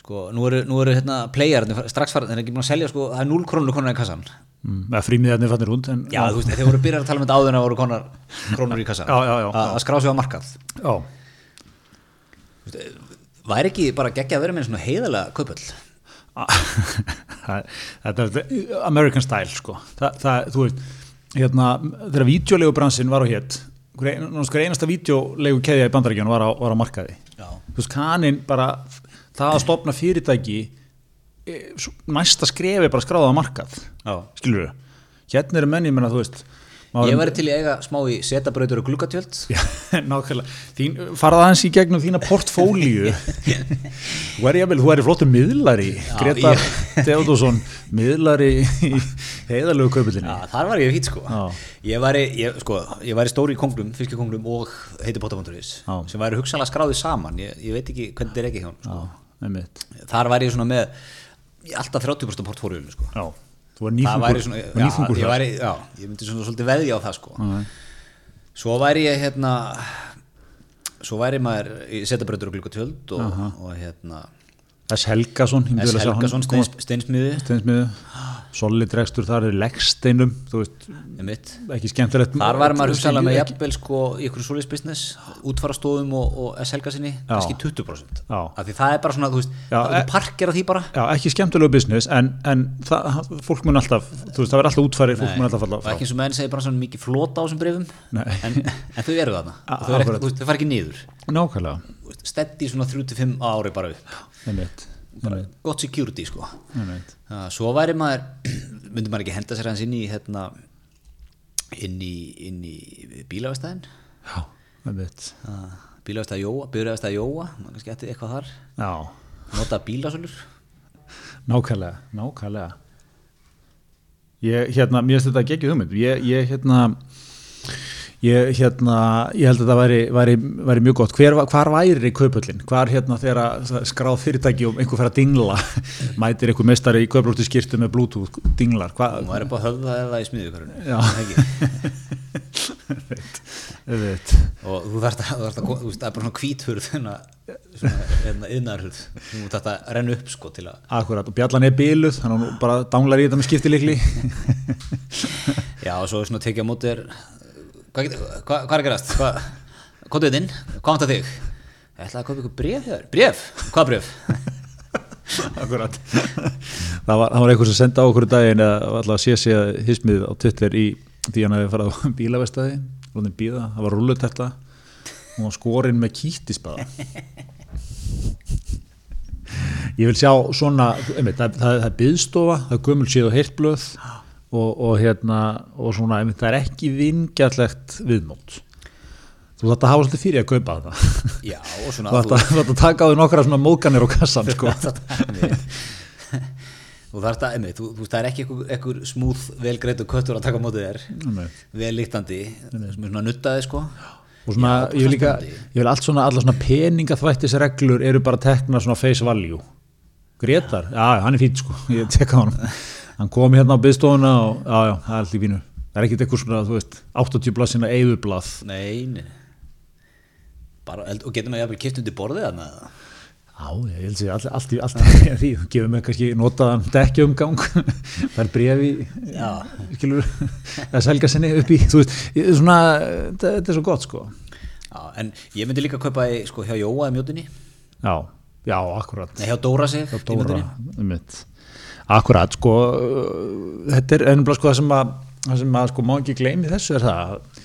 Speaker 1: sko, nú eru, nú eru hérna playarnir strax farið, þeir eru ekki búin að selja sko, það er 0 krónur konar í kassan já,
Speaker 2: Mm, eða frímiðarnir fannir hund en,
Speaker 1: þú veist, þeir voru byrjar að tala um þetta áður en það voru konar krónur í kassan
Speaker 2: Já, já, já.
Speaker 1: að, að skrá sig á markað
Speaker 2: já, *laughs*
Speaker 1: væri ekki bara geggja að vera með svona heiðalega kaupöll
Speaker 2: A- Það- þetta er American style sko, Þa, það, þú veist hérna, þegar vídeolegubransin var á hétt náttúrulega einasta vídeolegu keðja í bandaríkjónu var, á- var á markaði
Speaker 1: Já.
Speaker 2: þú veist, kaninn bara það að stopna fyrirtæki e, s- næsta skrefi bara skráða á markað
Speaker 1: já
Speaker 2: skilur hérna eru menni, menna, þú veist maður-
Speaker 1: Ég væri til í að eiga smá í setabrautur og gluggatjöld
Speaker 2: Já, *laughs* nákvæmlega, Þín, farað aðeins í gegnum þína portfólíu *laughs* þú er jafnvel, þú er flottur miðlari Gretar
Speaker 1: ég-
Speaker 2: Theodorsson miðlari í heiðalögu kaupilinni
Speaker 1: Já, þar var ég fýtt sko
Speaker 2: Já.
Speaker 1: ég væri, ég, sko, ég væri stóri í konglum, fiskikonglum og heiti Bóttabónduris
Speaker 2: Já.
Speaker 1: sem væri hugsanlega skráði saman ég, ég veit ekki hvernig þetta er ekki hjá honum,
Speaker 2: já, einmitt
Speaker 1: sko. þar væri ég svona með í alltaf 30% portfóriðinu sko.
Speaker 2: já, þú er
Speaker 1: það væri
Speaker 2: nýfungur,
Speaker 1: svona,
Speaker 2: þú er nýfungur
Speaker 1: ég,
Speaker 2: þar.
Speaker 1: væri, já, ég myndi svona svolítið veðja á það sko. svo væri ég hérna svo væri maður í setabrautur og gluggatjöld og, og hérna
Speaker 2: S. Helgason ég myndi
Speaker 1: S.
Speaker 2: vilja sjá hann
Speaker 1: Helgason,
Speaker 2: koma-
Speaker 1: steins, steinsmiði
Speaker 2: Steinsmiðju. solid rekstur þar er leggsteinum þú veist,
Speaker 1: mitt
Speaker 2: ekki skemmtilegt
Speaker 1: Þar var maður hugsaðlega með
Speaker 2: Ekki-
Speaker 1: jafnvel sko í ykkur svoleiðs business, útfarastofum og, og S-helga sinni, kannski 20%
Speaker 2: Já.
Speaker 1: af því það er bara svona, þú veist,
Speaker 2: Já,
Speaker 1: það
Speaker 2: e-
Speaker 1: er parkir að því bara
Speaker 2: Já, ekki skemmtilegu business en, en það, fólk mun alltaf þú veist, það verður alltaf útfæri, fólk mun alltaf falla
Speaker 1: og
Speaker 2: frá
Speaker 1: ekki eins og menn segir bara svona mikið flota á þessum brefum
Speaker 2: Nei.
Speaker 1: en, en þau eru þarna
Speaker 2: A-
Speaker 1: og þau, er ekki,
Speaker 2: akkurat.
Speaker 1: þú veist, þau fara ekki niður
Speaker 2: nákvæmlega,
Speaker 1: steddi svona 3-5 ári bara upp
Speaker 2: einmitt, einmitt.
Speaker 1: gott security sko
Speaker 2: Einmitt.
Speaker 1: Uh, svo væri maður, *clears throat* myndi maður ekki henda sér hans inn í hérna, inn í, inn í bílavestæðin
Speaker 2: Já, einmitt.
Speaker 1: bílavestæð Jóa, bílavestæð Jóa maður kannski eftir eitthvað þar
Speaker 2: Já,
Speaker 1: nota bílasölur
Speaker 2: nákvæmlega, nákvæmlega. Ég, hérna, mér finnst þetta ekki hugmynd. Ég, ég, hérna, ég, hérna, ég held að það væri, væri, væri mjög gott hver, hvar væri kaupullin, hvar hérna þegar að það er skráð fyrirtæki og einhver fer að dingla *laughs* mætir einhver mestari í kaupulóttu skýrtu með bluetooth dinglar
Speaker 1: hún
Speaker 2: *laughs* hvað,
Speaker 1: var upp á höfða eða í smiðukarunni
Speaker 2: Já. veit
Speaker 1: og þú þarft að, þú þarft að ko- þú veist, það er bara svona kvíthurð svona, svona yðnarhurð þú þarft að renna upp sko til að
Speaker 2: Akkurat, og bjallan er biluð, þannig að hún bara danglar í þetta með *laughs* skiptilikli
Speaker 1: já og svo er svona að tekja á móti er hvað, get, hvað, hvað er að gerast hvað, komdu þetta inn, hvað vantar þig ég ætlaði að köpa ykkur bréf hér bréf, hvað bréf
Speaker 2: *laughs* Akkurat það, var, það var einhver sem senda á okkur daginn að alltaf sé sé að hismið á Twitter í því hann hefði farið á *laughs* bílavestaði Lóðin bíða, það var rúlluterta hún var skorinn með kýttispada Ég vil sjá svona einmitt, það, það, það er byðstofa, það er gömul síð og heyrtblöð og, og hérna og svona, einmitt, það er ekki vingjallegt viðmót Þú þátt að hafa svolítið fyrir að kaupa þetta
Speaker 1: já og svona
Speaker 2: Þú ætti að, þú ætti að taka á því nokkra svona móðganir á kassan sko.
Speaker 1: þú þarft að, einmitt, þú, þú veist, það er ekki einhver, einhver smúð velgreitu köttur að taka á móti þér
Speaker 2: Nei.
Speaker 1: vel líktandi, sem er svona nuttaði sko
Speaker 2: og svona, ég vil líka ég vil allt svona, alla svona peningaþvættisreglur eru bara tekna svona face value Gretar, já, já, hann er fínt sko *laughs* ég tekka hann, hann kom hérna á byggstofuna og, já, já, það er allt í fínu það er ekkert eitthvað svona, þú veist, 80 blað sinna eigðublað,
Speaker 1: Nei, nei. Bara, held- og getur maður jafnvel kipt undir borðið þarna eða?
Speaker 2: já, ég held sér allt, allt, í- allt í *laughs* því, þú gefur mig kannski notaðan *laughs* dekkjaumgang, það er brefi já, skilur það er selga sinni upp í, þú veist ég- svona, þetta þetta er svo gott sko
Speaker 1: Já, en ég myndi líka kaupa í, sko, hjá Jóa í mjótinni,
Speaker 2: já, já, akkurat
Speaker 1: nei hjá Dóra sig
Speaker 2: Hjá Dóra, einmitt. Akkurat, sko, uh, þetta er ennumlega sko það sem að, það sem að sko má ekki gleymi þessu er það að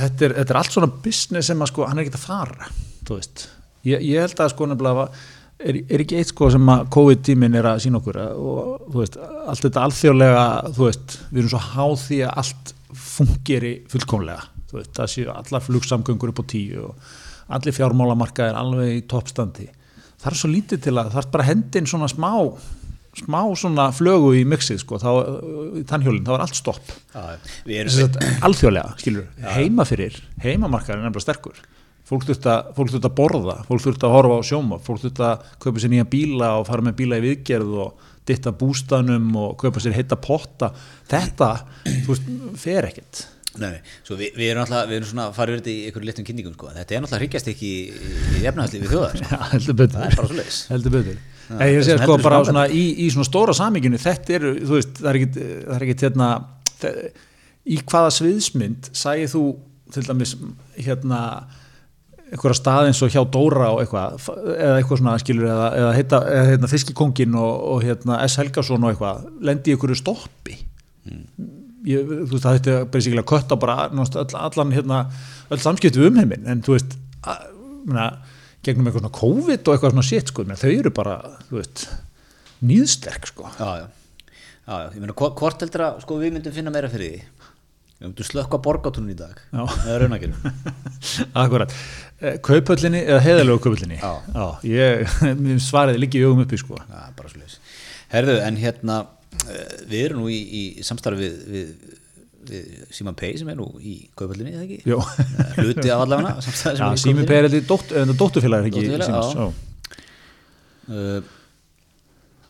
Speaker 2: þetta er, þetta er allt svona business sem að sko hann er ekkert að fara, þú veist. Ég, ég held að sko nefnilega að er, er ekki eitt sko sem að COVID-tíminn er að sína okkur að- og þú veist, allt þetta alþjóðlega, þú veist, við erum svo háð því að allt fungeri fullkomlega, þú veist, það séu allar flugsamgöngur upp á tíu og allir fjármálamarkaðir alveg í toppstandi. Það er svo lítið til að það er bara hendin svona smá, smá svona flögu í mixið sko, þá, í tannhjólinn, þá er allt stopp
Speaker 1: Já, við erum
Speaker 2: Sem sagt, alþjóðlega, skilur, heima fyrir heimamarkaðin er nefnilega sterkur fólk þurft að, fólk þurft að borða, fólk þurft að horfa á sjóma, fólk þurft að kaupa sér nýja bíla og fara með bíla í viðgerð og ditta bústanum og kaupa sér heita potta, þetta þú veist, fer ekkert
Speaker 1: Nei, nei, svo við, við erum alltaf, við erum svona að fara yfir þetta í einhverjum litlum kynningum sko, en þetta er alltaf hryggast ekki í, í efnahagslífi þjóðar
Speaker 2: *laughs*
Speaker 1: sko.
Speaker 2: Já, heldur betur.
Speaker 1: Það er bara svoleiðis.
Speaker 2: Heldur betur. Nei, ég
Speaker 1: sem
Speaker 2: segi sko
Speaker 1: heldur
Speaker 2: bara
Speaker 1: þessu
Speaker 2: svona í, í svona stóra saminginu, þetta eru, þú veist, það er ekkit, það er ekkit hérna, þe- í hvaða sviðsmynd sagði þú til dæmis hérna einhverja staðin svo hjá Dóra og eitthvað, f- eða eitthvað svona skilur, eða, eða, heita, eða hérna Fiskikongin og, og hérna S. Helgason og eitthvað, lendi í einhverju stoppi. Ég, þú veist, það þetta er basically að kötta bara nánast öll, allan hérna, öll samskipti við umheiminn, en þú veist, að, mena, gegnum eitthvað svona COVID og eitthvað svona shit, sko, menn þau eru bara, þú veist, nýðsterk, sko. *laughs*
Speaker 1: Já, já, já, já, ég meina, hvo- hvort heldur að, sko, við myndum finna meira fyrir því Við myndum slökka borgatúnum í dag
Speaker 2: Já.
Speaker 1: Með raunakirum
Speaker 2: Akkurat. Kaupöllinni, Eh, eða heiðalegu kaupöllinni.
Speaker 1: Já.
Speaker 2: Já, ég, *laughs* mér svaraði líka í augum uppi, sko.
Speaker 1: Já, bara sliðis. Herðu, en hérna, eh, við erum nú í, í samstarfi við, við, við Simon Pei sem er nú í kaupallinni, eða ekki?
Speaker 2: Jó.
Speaker 1: Eh, Hluti af allavega, samstarfi *laughs* sem er
Speaker 2: Já,
Speaker 1: í
Speaker 2: Sými
Speaker 1: Kaupöllinni.
Speaker 2: Perelli, dótt, dóttufélagur, ekki?
Speaker 1: Dótturfélag,
Speaker 2: Símans,
Speaker 1: já. Eh,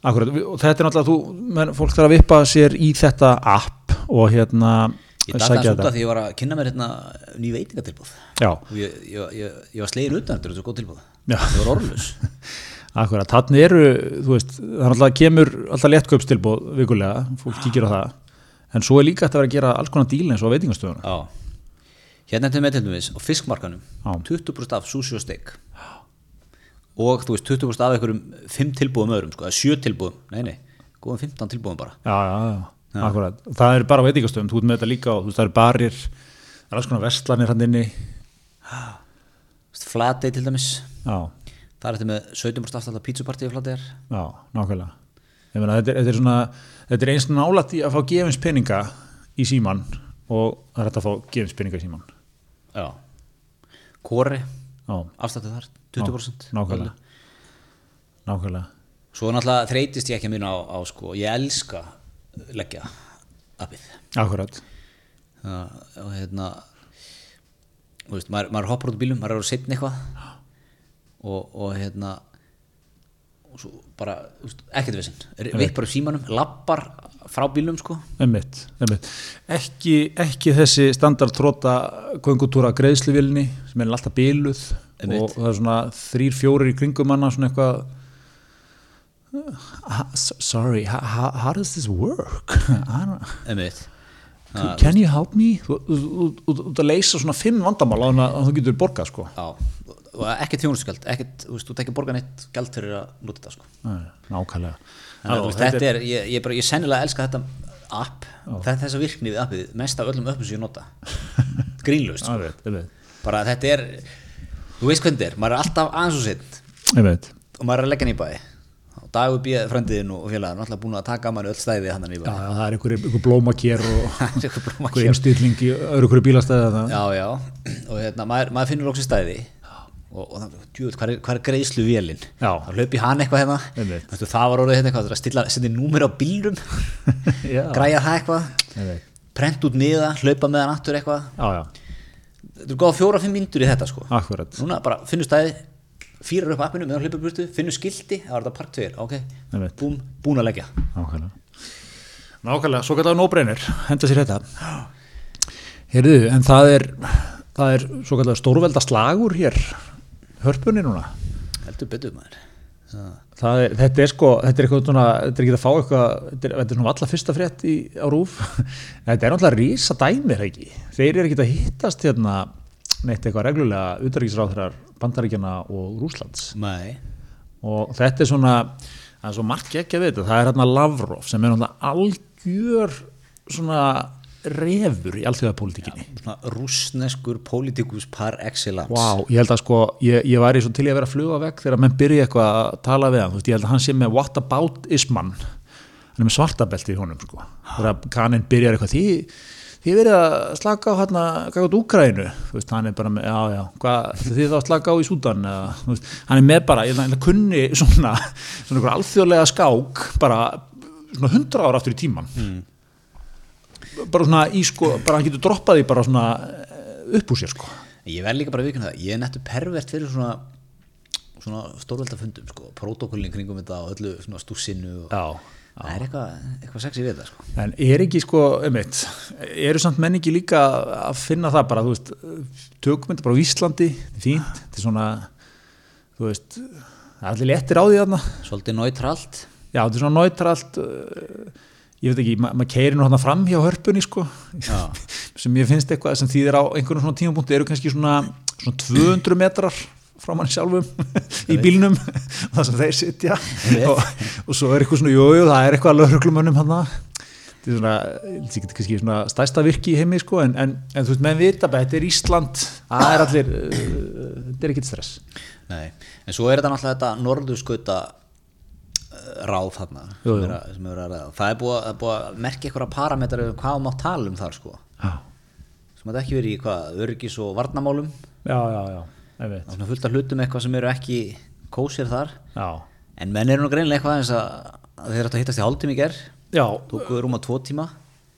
Speaker 2: Akkurat, og þetta er náttúrulega þú, menn, fólk þarf að vippa sér í þetta app og hérna
Speaker 1: Ég datt aðeins út af því ég var að kynna mér hérna ný veitingatilbúð.
Speaker 2: Já,
Speaker 1: Og ég, ég, ég, ég var slegin utan þetta, þetta er svo góð tilbúð.
Speaker 2: Já.
Speaker 1: Ég var
Speaker 2: *laughs*
Speaker 1: orðlus.
Speaker 2: akkurat, þannig eru, þú veist, það er náttúrulega kemur alltaf léttkaupstilbóð vikulega, fólk kíkir á það, en svo er líka hægt að vera að gera alls konar díl eins og á veitingastöðuna.
Speaker 1: Já. Hérna til með til dæmis, á fiskmarkanum,
Speaker 2: Já.
Speaker 1: 20% af sushi og steak. Og þú veist, 20% af einhverjum 5 tilbúðum öðrum, sko, eða 7 tilbúðum, nei, nei, góðum 15 tilbúðum bara.
Speaker 2: Já, já, já, akkurat, það er bara á veitingastöðum, þú ert með þetta líka og þú veist, það eru barir, það er alls konar verslanir hann inni,
Speaker 1: Flatei til dæmis
Speaker 2: já,
Speaker 1: Það er þetta með 17% afslátt af pítsupartíu flategar
Speaker 2: já, nákvæmlega. Ég meina, þetta er, þetta er svona, þetta er eins nálætt í að fá gefins peninga í síman og það er hægt að fá gefins peninga í síman.
Speaker 1: Já Kori,
Speaker 2: Já,
Speaker 1: afsláttu þar 20%
Speaker 2: nákvæmlega nákvæmlega
Speaker 1: Svo náttúrulega þreytist ég ekki að minna á, á sko, ég elska leggja appið
Speaker 2: akkurat
Speaker 1: Það- og hérna þú veist, maður, maður hoppar út úr bílum, maður er að setna eitthvað og, og hérna og svo bara, þú veist, ekkert vesinn vippar upp símanum, lappar frá bílum sko,
Speaker 2: Einmitt, einmitt. Ekki, ekki þessi standard tróta göngutúra greiðsluvilni sem er alltaf biluð og
Speaker 1: Einmitt.
Speaker 2: það er svona þrýr, fjórir í kringum hana svona eitthvað "Ah, s- sorry, how, how- how does this work? I don't,
Speaker 1: emmitt
Speaker 2: can, can you help me? Þú ert að leysa svona fimm vandamál á hann að þú getur borgað sko.
Speaker 1: já, og og ekkert þjónustugjald ekkert, þú veist, þú tekir borgan eitt gjald fyrir að nota þetta sko
Speaker 2: Nei, Nákvæmlega.
Speaker 1: Þannig, að, þú veist, þetta er, ég, ég, bara, ég sennilega elska þetta app, þetta er þessa virkni við appið mest af öllum öppum sem ég *laughs* nota grínlaust, sko.
Speaker 2: Einmitt, einmitt.
Speaker 1: bara þetta er þú veist hvernig þetta er, maður er alltaf aðeins og sinn
Speaker 2: Einmitt.
Speaker 1: og maður er að leggja hann í bæ og dagur býða fröndiðin og félagarn alltaf búin að taka að manni öll stæði hann í bæ *laughs*
Speaker 2: Já, já, það er einhver, einhver blómakér og
Speaker 1: Það er eitthvað blóma
Speaker 2: einhver einstýrling í öðru hverju bílastæði þarna.
Speaker 1: já, já, og hérna, maður, maður finnur loksins stæði og, og það, djúvel, hvað er, hvað er greiðslu vélinn?
Speaker 2: Já.
Speaker 1: Það löpi hann eitthvað hérna,
Speaker 2: Einmitt.
Speaker 1: Veistu, það var orðið hérna eitthvað, það er að stilla, setja númer á bílrum,
Speaker 2: *laughs* Já.
Speaker 1: græja það eitthvað,
Speaker 2: Einmitt.
Speaker 1: prent út niða, hlaupa með hann aftur eitthvað,
Speaker 2: Já, já,
Speaker 1: þetta er góða fjóra-fimm mínútur í þetta sko.
Speaker 2: akkurat
Speaker 1: Núna bara finnur stæði, fýrar upp appinu meðan hlaupa burtu, finnur skildi, það var þetta part 2, ok,
Speaker 2: Einmitt.
Speaker 1: búm, búin að leggja.
Speaker 2: Nákvæmlega Nákvæmlega, svo kallar nóbreynir, henda sér þetta Heyrðu, en það er það er svo kallar stórvelda slagur hér, hörpunni núna
Speaker 1: Heldur betur maður. Það.
Speaker 2: það er, þetta er sko, þetta er eitthvað svona þetta er ekki að fá eitthvað, þetta er, þetta er svona alltaf fyrsta frétt í, á rúf *laughs* þetta er náttúrulega rísa dæmir ekki þeir eru ekki að hittast hérna neitt eitthvað reglulega utarriksráðherrar Bandaríkjana og Rúslands
Speaker 1: Nei,
Speaker 2: og þetta er svona það er svo margt ekki að vita, það er hérna Lavrov sem er náttúrulega algjör svona refur í allþjóðapólitíkinni
Speaker 1: svona rúsneskur pólitíkus par excellence.
Speaker 2: Vá, ég held að sko, ég, ég væri svo til í að vera að fluga vekk þegar menn byrja eitthvað að tala við hann, þú veist, ég held að hann sé með whataboutisman, hann er með svartabelti í honum sko, þegar kaninn byrjar eitthvað, því, því verið að slaka á hérna, gægjótt Úkrænu, þú veist, hann er bara með, já, já, hvað, því þá að slaka á í Súdan, eða, þú veist, hann er með bara, ég held að hann kunni svona, svona einhver alþjóðlega skák, bara svona hundra ára aftur í tíman, bara svona í sko, bara hann getur droppað því bara svona eh, upp úr sér sko.
Speaker 1: Ég verð líka bara að vikna það, ég er nettu pervert fyrir svona, svona stórveldafundum, sko, protokollin kringum þetta og öllu svona stússinu og
Speaker 2: Já,
Speaker 1: það er eitthvað, eitthvað sexy við þetta, sko.
Speaker 2: En er ekki sko, einmitt, eru samt menn ekki líka að finna það bara, þú veist, tökum þetta bara á Íslandi, þetta er fínt, þetta er svona, þú veist, það er allir léttir á því þarna,
Speaker 1: Svolítið náttrælt,
Speaker 2: já, þetta er svona nátralt, ég veit ekki, ma maður keirir nú þarna fram hjá hörpunni sko,
Speaker 1: Já.
Speaker 2: sem ég finnst eitthvað sem þýðir á einhvern svona tímapunkti eru kannski svona, svona 200 metrar frá mann sjálfum í bílnum *laughs* þar sem þeir sitja og, og svo er eitthvað svona, jújú, jú, það er eitthvað að lögreglumönnum hann þetta er svona, ég geti kannski svona stærsta virki í heimi sko, en, en, en þú veist, menn vita bara, þetta er Ísland það er allir, uh, þetta er ekkit stress
Speaker 1: nei, en svo er þetta náttúrulega þetta norðurskauta eh, ráð þarna
Speaker 2: Jú, jú.
Speaker 1: sem er að- sem er að ræða. Það er búið, að- það er búið að merkja eitthvað parametrar um hvað má tala um þar, sko.
Speaker 2: já,
Speaker 1: Sem þetta ekki verið í hvað, örgis og varnamálum,
Speaker 2: já, já, já, ég
Speaker 1: Það er svona fullt af hlutum eitthvað sem eru ekki kósir þar
Speaker 2: já
Speaker 1: en menn eru nú greinilega eitthvað eins að að þeir áttu að hittast í hálftími í ger
Speaker 2: Já,
Speaker 1: tókuðu rúma tvo tíma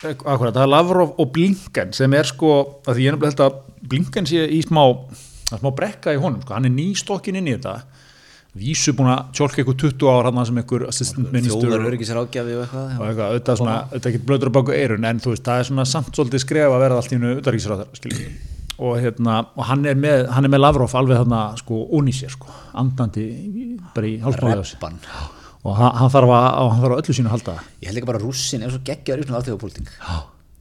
Speaker 2: Akkurat, það er Lavrov og Blinken sem er sko, að því ég er nefnilega held að Blinken sé í smá, að smá brekka í honum, sko, hann er nýstokkin inn í þetta vísu búin að tjólka eitthvað 20 ára hann sem einhver assistant minister
Speaker 1: þjóðar
Speaker 2: og
Speaker 1: örgisir ágjafi og eitthvað
Speaker 2: og eitthvað, auðvitað svona, auðvitað ekki blöður á baku eirun en þú veist, það er svona samt svolítið skref að verða allt í hennu utarriksráðar, skiljum og hérna, og hann er með, hann er með Lavrov alveg þarna, sko, ón í sér, sko andandi, í- bara í hálfmálega
Speaker 1: reppan
Speaker 2: og hann, hann þarf að, á- hann þarf að öllu sínu að halda
Speaker 1: ég held ekki bara að rússin er svo geggjaður í svona alþjóðapólitík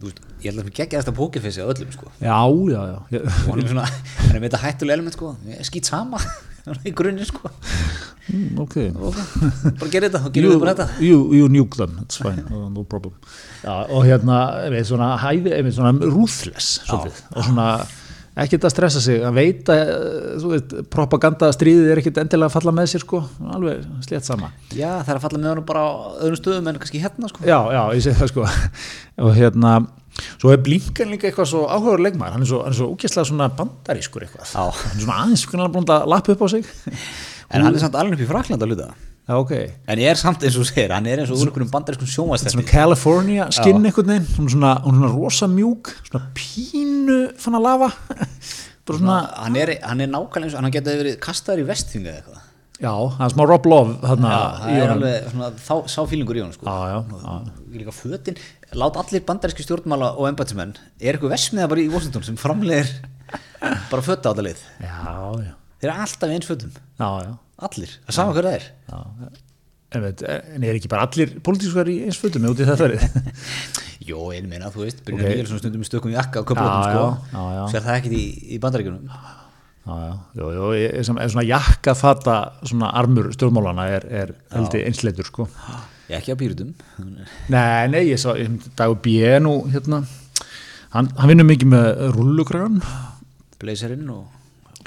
Speaker 1: Þú veist, ég held að það er geggjaðast að pókifessi á öllum sko
Speaker 2: Já, já, já, *laughs* ég,
Speaker 1: og hann er svona, hann er með þetta hættulega element sko skýt sama *laughs* í grunni sko
Speaker 2: mm, ok
Speaker 1: Ok, bara gera þetta og gera
Speaker 2: you,
Speaker 1: þetta bara þetta
Speaker 2: you, you nuke them, it's fine, no no problem já, og hérna, einmitt svona, hæfi, einmitt svona ruthless svolítið, og svona ekkert að stressa sig, að veita eh, þú veit, propaganda stríðið er ekkert endilega að falla með sér sko, alveg slétt sama
Speaker 1: já það er að falla með honum bara á öðrum stöðum en kannski hérna sko
Speaker 2: já, já, ég segi það sko og hérna, svo er Blinken líka eitthvað svo áhugaður leikmaður, hann er svo, hann er svo úkesslega svona bandarískur eitthvað
Speaker 1: Já.
Speaker 2: hann er svona aðeins svona blónd að lappa upp á *laughs* sig
Speaker 1: en hann er samt alveg upp í Frakland að luta
Speaker 2: já, ok
Speaker 1: En ég er samt eins og þú segir, hann er eins og úr einhvernum bandarískum
Speaker 2: svona
Speaker 1: sjónvæðstætti
Speaker 2: California skinn einhvern veginn hún er svona, hún er svona rosa mjúk svona pínu fann að lafa *laughs* bara svona,
Speaker 1: hann er, hann er nákvæmlega eins og hann geti verið kastaður í vestfinga eða eitthvað
Speaker 2: já, hann er smá Rob Love þarna
Speaker 1: það
Speaker 2: í
Speaker 1: er
Speaker 2: honum.
Speaker 1: alveg svona, þá, sá fílingur í honum sko.
Speaker 2: já, já, já,
Speaker 1: líka fötin, lát allir bandaríski stjórnmála og embatismenn, er eitthvað versmiða bara í Washington sem framlegir bara fötta á þetta lið,
Speaker 2: já, já,
Speaker 1: þeir eru alltaf í eins fötum
Speaker 2: já, já.
Speaker 1: allir, það er sama hver það er
Speaker 2: Já, en, veit, en er ekki bara allir pólitískar í eins fötum út í það þörið *laughs*
Speaker 1: Jó, ég meina, þú veist, Brynjar
Speaker 2: Ok.
Speaker 1: okay. Níelsson stundum í stökum jakka á
Speaker 2: Já,
Speaker 1: köflótum,
Speaker 2: já,
Speaker 1: sko
Speaker 2: já, já.
Speaker 1: sér það ekkit í, í bandaríkjunum
Speaker 2: já, já, jú, jú, ég, sem, er svona jakka fata svona armur stjórnmálana er, er heldig einsleitur sko
Speaker 1: ég ekki á pýrutum
Speaker 2: nei, nei, ég sá, ég, dagur B nú hérna, hann, hann vinnur mikið með rullugragan,
Speaker 1: blazerinn og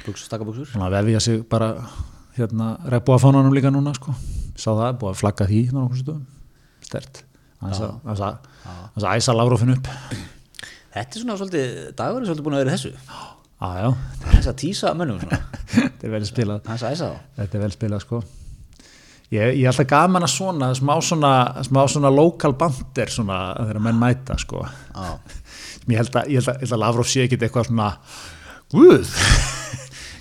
Speaker 1: buks, stakkabuksur
Speaker 2: hann vefja sig bara hérna, regbúafánanum líka núna sko sá það, búið að flagga því hérna nokkuð stöðum, stert hans að, hans að, hans að æsa Lavrofin upp
Speaker 1: Þetta er svona svolítið, dagur er svolítið búin að vera í þessu
Speaker 2: já, *laughs* já,
Speaker 1: hans að tísa mönnum svona,
Speaker 2: þetta er vel spilað
Speaker 1: hans að æsa þá
Speaker 2: Þetta er vel spilað sko Ég, ég er alltaf gaman að svona smá svona, smá svona lokal bandir svona þegar menn mæta sko
Speaker 1: Já.
Speaker 2: Sem ég held að, ég held að, ég held að Lavrov sé ekkit eitthvað svona Guð *laughs*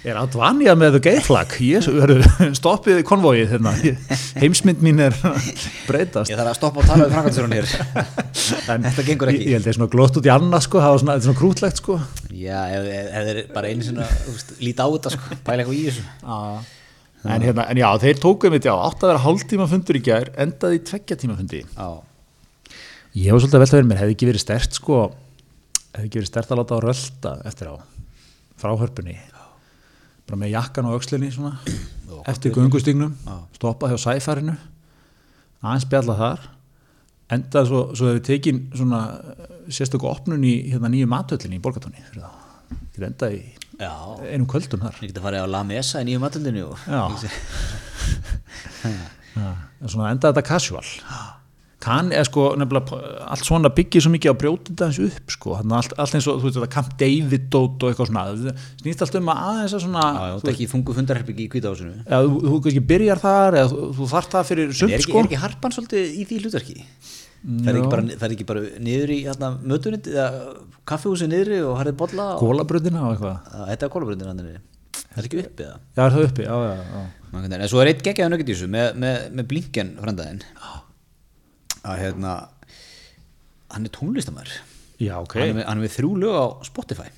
Speaker 2: er átt vanjað með geirflag Jésu, hörru, *laughs* stoppið konvóið hérna. heimsmynd mín er *laughs* að breytast
Speaker 1: Ég þarf að stoppa og tala við frangatisjónum hér Þetta gengur
Speaker 2: ég,
Speaker 1: ekki
Speaker 2: ég held að ég er svona glott út í annað sko það var svona, þetta er svona krútlegt sko
Speaker 1: Já, ef ef- ef þeir bara einu sinna líta á þetta sko, pæla eitthvað í þessu
Speaker 2: en, hérna, en já, þeir tókuðum þetta á átt að vera hálftíma fundur í gær endaði í tveggja tíma fundi
Speaker 1: Já,
Speaker 2: Ég var svolítið að velta fyrir mér, hefði ekki verið stert sko, hefði ekki verið stert að láta á rölda eftir á, fráhörpunni bara með jakkan á aukslinni svona,
Speaker 1: Og
Speaker 2: eftir göngustignum
Speaker 1: Já.
Speaker 2: stoppa hjá sæfærinu aðeins bjalla þar enda svo, svo hefur tekin svona eh, sérstöku opnun í hérna nýju matöllinni í Borgatóni fyrir það, þetta enda í
Speaker 1: já
Speaker 2: einum kvöldum þar
Speaker 1: Ég geta farið á La Mesa í nýju matundinu og
Speaker 2: Já. Já, en svona enda þetta casual kann er sko nefnilega p- allt svona byggir svo mikið á brjótið það eins upp sko, þannig allt, allt eins og þú veist þetta Camp David dót og eitthvað svona það snýst allt um að aðeins að svona
Speaker 1: Já, já,
Speaker 2: þú,
Speaker 1: þetta ekki þungu fundarherbyggi í kvítahúsinu
Speaker 2: eða, þú, þú kannski byrjar þar eða þú, þú þarft það fyrir
Speaker 1: En
Speaker 2: sumt
Speaker 1: er ekki,
Speaker 2: sko
Speaker 1: er ekki harpan svolítið í því hlutverki? Það er, ekki bara, það er ekki bara niður í hérna, mötunit eða kaffihúsi niðri og harðið bolla og
Speaker 2: kólabröðina og eitthvað
Speaker 1: Að þetta er kólabröndin hann niðri. Það er ekki uppið það.
Speaker 2: já er það uppi, já já, já.
Speaker 1: Maður kann- En svo er eitt geggjaðan aukert í þessu með, með, með blinken frendaðinn að hérna hann er tónlistamæður
Speaker 2: já ok
Speaker 1: hann, er með- hann er með þrjú lög á Spotify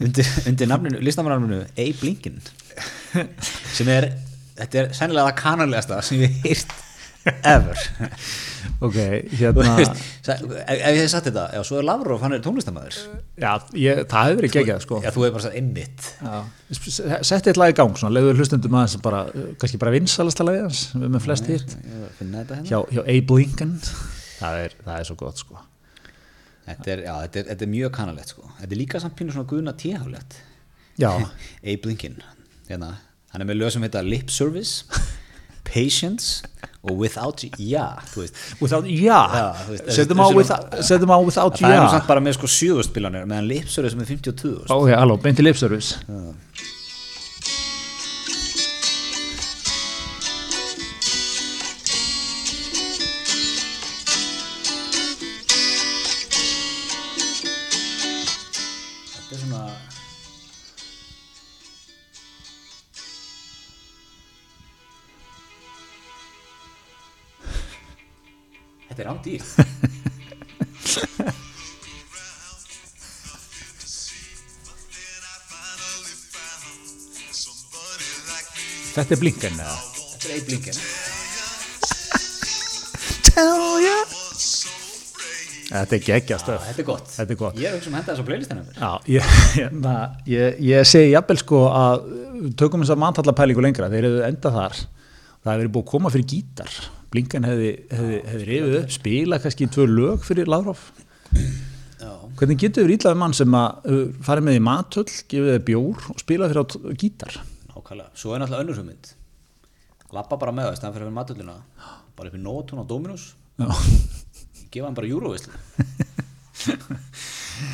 Speaker 1: *laughs* undir, undir nafninu, listamannarminu A. Blinkin sem er, þetta er sennilega það kanalegasta sem ég hef hýrt ever
Speaker 2: ok,
Speaker 1: Þú
Speaker 2: hérna
Speaker 1: veist, sa- ef ef ég hef sagt þetta, já, svo er Lavrov, hann er tónlistamæður
Speaker 2: já, ég, það hefur ekki ekki sko
Speaker 1: já, þú hefur bara sagt einmitt
Speaker 2: setti eitt lag í gang, svona, leiður hlustundum aðeins bara, eh, kannski bara vinsalasta lagi hans með flest hitt
Speaker 1: Ég var að finna þetta hérna
Speaker 2: hjá, hjá Abe Lincoln það er, það er svo gott sko
Speaker 1: þetta er, já, þetta er, þetta er mjög kanalegt sko. þetta er líka samt pínu svona guðna tíhálegt
Speaker 2: já,
Speaker 1: *laughs* Abe Lincoln hérna, hann er með lög sem heita Lip Service *laughs* Patience og Without Ya þú veist.
Speaker 2: without, já,
Speaker 1: Já, þú veist,
Speaker 2: setjum á
Speaker 1: þessi-
Speaker 2: without, setjum á without
Speaker 1: það er nú
Speaker 2: já
Speaker 1: samt bara með sko sjöðustbilanir meðan Lip Service er með 52 sko.
Speaker 2: ok, halló, beint til lipservice
Speaker 1: þetta er svona Þetta er *laughs* ándýr
Speaker 2: þetta er Lincoln eða
Speaker 1: Þetta er Abe Lincoln
Speaker 2: tell ya þetta er geggja stöð
Speaker 1: Þetta er gott
Speaker 2: Þetta er gott.
Speaker 1: Ég er hugsa um að henda þessu á playlistinu mér
Speaker 2: Já, ég, hérna, ég, ég segi jafnvel sko að við tökum þess að manntallapælingu lengra, þeir hefðu endað þar það hefði verið búið að koma fyrir gítar Blinkan hefði, hefði, hefði reyfið upp spila kannski tvö lög fyrir Lavrov
Speaker 1: Já
Speaker 2: Hvernig getur við ítlaðið mann sem að uh, farið með í matöll, gefið þið bjór og spilað fyrir á t- gítar?
Speaker 1: Nákvæmlega Svo er náttúrulega önnur hugmynd Lappa bara með það Stæðan fyrir að vera matullina Bara upp í nótun á Dominus
Speaker 2: Já, *laughs*
Speaker 1: Gefa hann bara júróvislu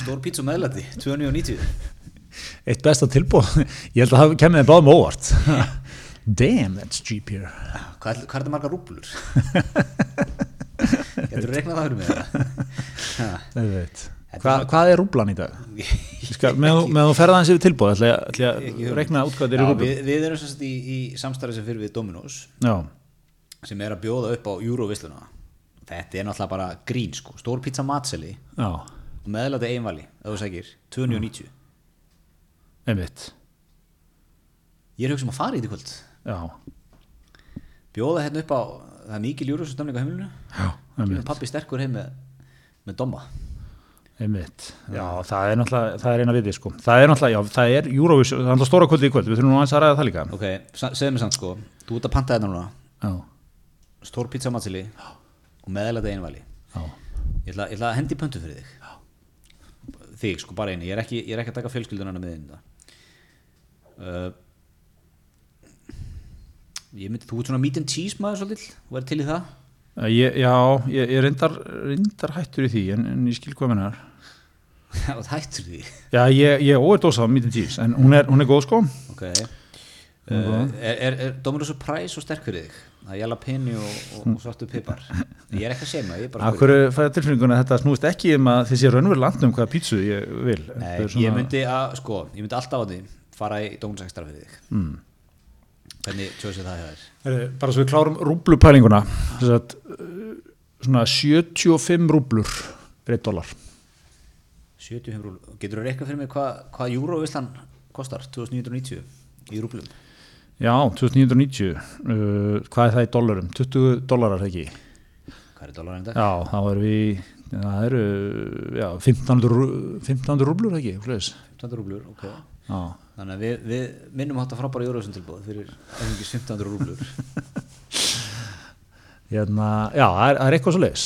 Speaker 1: Stór pítsu meðlæti 290
Speaker 2: eitt besta tilbúð, ég held að það kemur þeim báðum á óvart. *laughs* Damn, that's cheap here.
Speaker 1: Hvað, ætl- hvað er þetta margar rúblur? Getur þú reiknað það fyrir mig? Ha.
Speaker 2: Það veit. Hva, hvað er rúblan í dag? Ég Skal, með, með þú ferða hans yfir tilbúð ætla ég- ætla ég að rekna út hvað þeir
Speaker 1: Já,
Speaker 2: eru rúblan
Speaker 1: við, við erum sérst í, í samstarfi sem fyrir við Dominos
Speaker 2: Já,
Speaker 1: sem er að bjóða upp á Eurovisluna þetta er náttúrulega bara grín sko stór pizza matseli
Speaker 2: já,
Speaker 1: og meðlæti einvali ef þú segir 290
Speaker 2: einmitt
Speaker 1: ég er hugsa um að fara í þetta í kvöld
Speaker 2: Já,
Speaker 1: bjóða hérna upp á það er mikil Eurovislunamning á heimilinu
Speaker 2: já,
Speaker 1: kemur
Speaker 2: einmitt
Speaker 1: pappi sterkur heim með, með domma
Speaker 2: Einmitt. Já, það er náttúrulega, það er eina vitið sko. Það er náttúrulega, já, það er Eurovision, það er náttúrulega stóra kvöldi í kvöld, við þurfum nú aðeins að ræða það líka.
Speaker 1: ok, sa- segðu mér samt sko þú ert að panta þetta núna
Speaker 2: Já,
Speaker 1: stór pizza matseli og meðlæti einvali
Speaker 2: já,
Speaker 1: ég ætla, ég ætla að hendi pöntu fyrir þig þig sko bara einu, ég er ekki, ég er ekki að taka fjölskyldunana með inn uh, ég myndi, þú ert svona meat and cheese maður svolítill, þú er til í það *laughs*
Speaker 2: ég, já, ég, ég reyndar, reyndar hættur í því, en, en ég skil hvað minna er.
Speaker 1: og það hættur því
Speaker 2: Já, ég, ég óveit ósað á Meet and Cheese, en hún er, hún er góð sko.
Speaker 1: ok uh, er, er, er Dominus Surprise og sterk fyrir þig það er jalapeni og, og, og svartu pipar ég er ekki að segja maður, ég er bara að
Speaker 2: Akkur fæða tilfinninguna að þetta snúist ekki um að þessi raunverð landum hvaða pítsu ég vil. Þetta
Speaker 1: Nei,
Speaker 2: er
Speaker 1: Eh,
Speaker 2: svona-
Speaker 1: ég myndi að, sko, ég myndi alltaf á því fara í Dominus ekstra fyrir þig mm. hvernig tjóðsir það hefur
Speaker 2: Heyrðu, bara svo við klárum rúblupælinguna, þess að, uh, svona 75 rúblur, fyrir 1 dólar.
Speaker 1: 75 rúl getur þú reikna fyrir mig hvað hva Eurovislan kostar 2990 í rúblum
Speaker 2: Já, 2990, uh, hvað er það í dólarum? 20 dólarar ekki?
Speaker 1: hvað er dólarinn dag?
Speaker 2: Já, þá erum við, í- það eru, já, 1500, rú- 1500 rúblur ekki, hlæðis.
Speaker 1: 15 rúblur, ok
Speaker 2: Já,
Speaker 1: þannig að við, við minnum hátta frábæra Eurovisan tilbúð fyrir einhverjum 15 rúblur
Speaker 2: hérna, já, það er, það er eitthvað svo leiðis.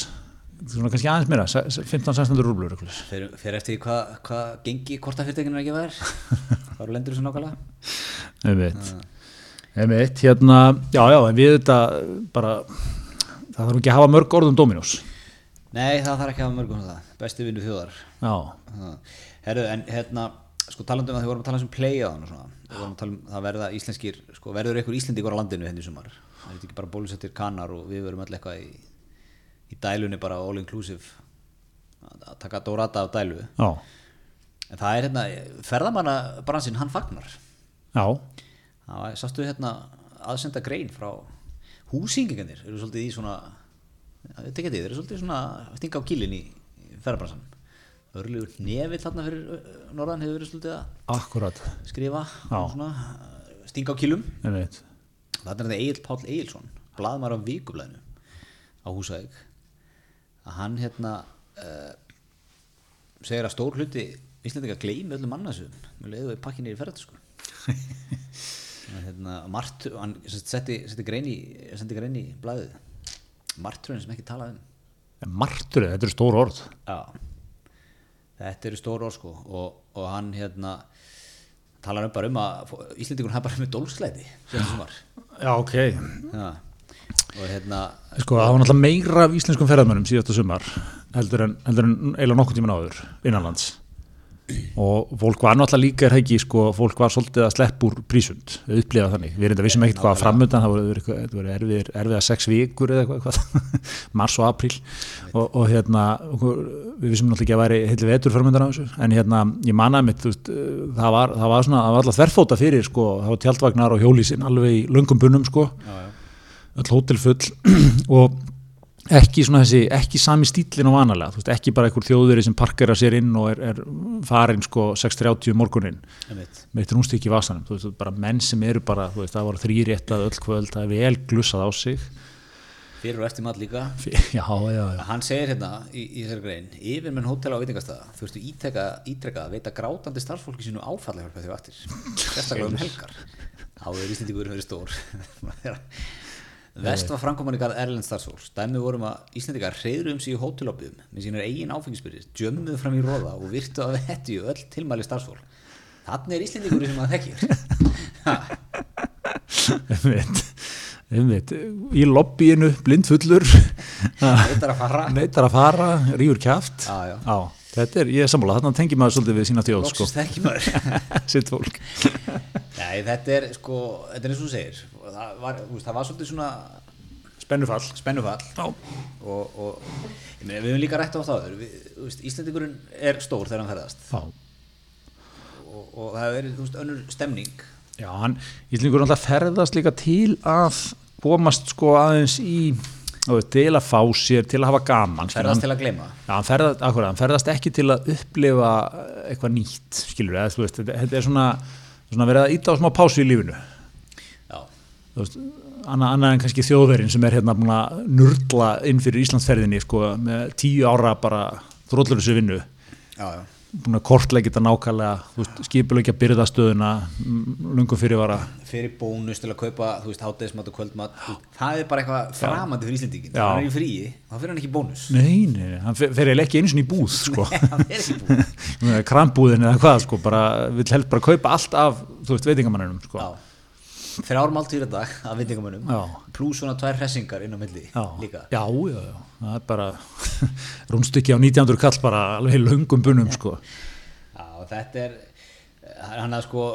Speaker 2: Svona kannski aðeins meira, 15-16 rúblur eitthvað.
Speaker 1: fyrir, fyrir eftir því hvað hva gengi kortafyrirtekinu er ekki að vera þá eru lendur þessu nákvæmlega
Speaker 2: Einmitt. Einmitt, hérna, já, já, en við þetta bara, það þarf ekki að hafa mörg orð um Dominós.
Speaker 1: nei það þarf ekki að hafa mörgum það besti vinnu þjóðar
Speaker 2: Já,
Speaker 1: Ha. Herru, en hérna sko talandum að því vorum að tala um playaðan og svona, við vorum að tala um það verða íslenskir sko verður einhver íslendingur á landinu henni sumar það er þetta ekki bara bólusettir kanar og við verum öll eitthvað í, í dælunni bara all inclusive að að taka dórata af dælu
Speaker 2: já,
Speaker 1: en það er hérna, ferðamannabransinn hann fagnar
Speaker 2: já,
Speaker 1: það var, sástu hérna aðsenda grein frá húsingingarnir eru svolítið í svona það tekja því, þeir eru svolítið svona að stinga á gílinn í ferðabransan örlugur nefill þarna fyrir ö, norðan hefur verið svolítið að
Speaker 2: akkurat,
Speaker 1: skrifa
Speaker 2: Já.
Speaker 1: og svona, ö, stinga á kýlum
Speaker 2: einmitt,
Speaker 1: þarna er þetta Egil Páll Egilson blaðmar á vikublæðinu á Húsavík að hann hérna uh, segir að stór hluti Íslandinga gleymi öllum annarsum með leiðu við pakkinni í ferðar sko hérna, margt, hann sem sagt setti, setti grein í sendi grein í blæðið martröðin sem ekki talaði um
Speaker 2: En martröð, þetta eru stór orð.
Speaker 1: Já, þetta eru stór orð sko og, og hann hérna talar um bara um að Íslandingun hafa bara með dólsleiti sem sem var
Speaker 2: Já, ok,
Speaker 1: Já, og hérna
Speaker 2: Sko, það var náttúrulega meira af íslenskum ferðarmönnum síðasta sumar heldur en, heldur en eiginlega nokkuð tíma áður innanlands og fólk var náttúrulega líka er það ekki sko, fólk var svolítið að sleppa úr prísund við upplifa þannig, við erum þetta vissum ekkert hvað var framöndan það voru, eitthvað- þetta voru erfiðir, erfiða sex vikur eða eitthvað, *laughs* hvað, mars og april og, og hérna okkur, við vissum náttúrulega ekki að væri heilu vetur framöndan á þessu, en hérna, ég manna mitt veist, eh, það, var, það var svona, það var alltaf þverfóta fyrir sko, það var tjaldvagnar og hjólísin alveg í löngum bunnum sko
Speaker 1: já, já.
Speaker 2: öll hótel full *clears throat* og ekki svona þessi, ekki sami stílinn og vanalega, þú veist, ekki bara einhver þjóðveri sem parkera sér inn og er, er farin sko 6.30 morguninn
Speaker 1: Einmitt.
Speaker 2: með eitt rúnstík í vasanum, þú veist, bara menn sem eru bara, þú veist, það voru þrýréttað öll kvöld, það er vel glussað á sig
Speaker 1: fyrir og eftir mat líka
Speaker 2: F- *laughs* já, já, já,
Speaker 1: hann segir hérna í, í þessari grein yfir menn hótela á veitingastæða þurftu íteka, ítrekka að veita grátandi starfsfólki sínu áfallahjálpa þegar vaktir sérstaklega um helgar þá er Íslandingur verið stór Vest var framkoman í garð Erlend starfsfólks dæmið vorum að Íslandingar reyður um sig í hóteloppiðum með sínar eigin áfengisbyrðis djömmuðu fram í róða og virtu að vettju öll tilmæli starfsfólk þannig er Íslandingur sem að þekkir Ha,
Speaker 2: *laughs* einmitt einmitt, í lobbyinu blindfullur, *laughs*
Speaker 1: neitar að fara
Speaker 2: neitar að fara rýfur kjaft,
Speaker 1: Já, já.
Speaker 2: þetta er, ég er sammála, þarna tengir maður svolítið við sína þjóð, sko,
Speaker 1: loksins þekki maður
Speaker 2: *laughs* sitt fólk
Speaker 1: sko, Nei, þetta er sko, þetta er eins og þú segir það var, þú veist, það var svolítið svona
Speaker 2: Spennufall
Speaker 1: spennufall
Speaker 2: Já,
Speaker 1: og, og ég meina, við höfum líka rætt á það áður. Við- þú veist, Íslendingurinn er stór þegar hann ferðast
Speaker 2: já.
Speaker 1: og, og það er þú veist, önnur stemning
Speaker 2: já hann, Íslingur alltaf ferðast líka til að komast sko aðeins í þú veist, til að fá sér, til að hafa gaman skilur,
Speaker 1: ferðast
Speaker 2: hann-
Speaker 1: til að gleyma
Speaker 2: Já, hann ferðast, akkurat, hann ferðast ekki til að upplifa eh, eitthvað nýtt, skilur eða, þú veist, þetta, þetta er svona, svona verið að íta á smá pásu í lífinu
Speaker 1: já,
Speaker 2: þú veist, annað, annað en kannski þjóðverinn sem er hérna búin að nurdla inn fyrir Íslandsferðinni sko, með tíu ára bara þróllur þessu vinnu
Speaker 1: já, já,
Speaker 2: búin að kortlega þetta nákvæmlega skipulegja byrðastöðuna lungum mm, fyrirvara
Speaker 1: fyrir bónus til að kaupa þú veist, hátæðismat og kvöldmat þú veist, það er bara eitthvað framandi fyrir Íslendingin
Speaker 2: Já.
Speaker 1: þegar hann er í fríi, þá fyrir hann ekki bónus
Speaker 2: nei, nei, nei, hann fer fer eiginlega ekki einu sinni í búð sko.
Speaker 1: *laughs* hann er ekki búin
Speaker 2: krambúðin eða hvað sko, bara, vill helst bara kaupa allt af þú veist, veitingamannunum sko.
Speaker 1: Já. Þrjár máltíður að dag af vindingamönnum
Speaker 2: Já.
Speaker 1: pluss svona tvær hressingar inn á milli
Speaker 2: já,
Speaker 1: líka.
Speaker 2: já, já, já, það er bara *laughs* rúnstykki á 1900 kall bara alveg í löngum bunum sko.
Speaker 1: Já, þetta er hann að sko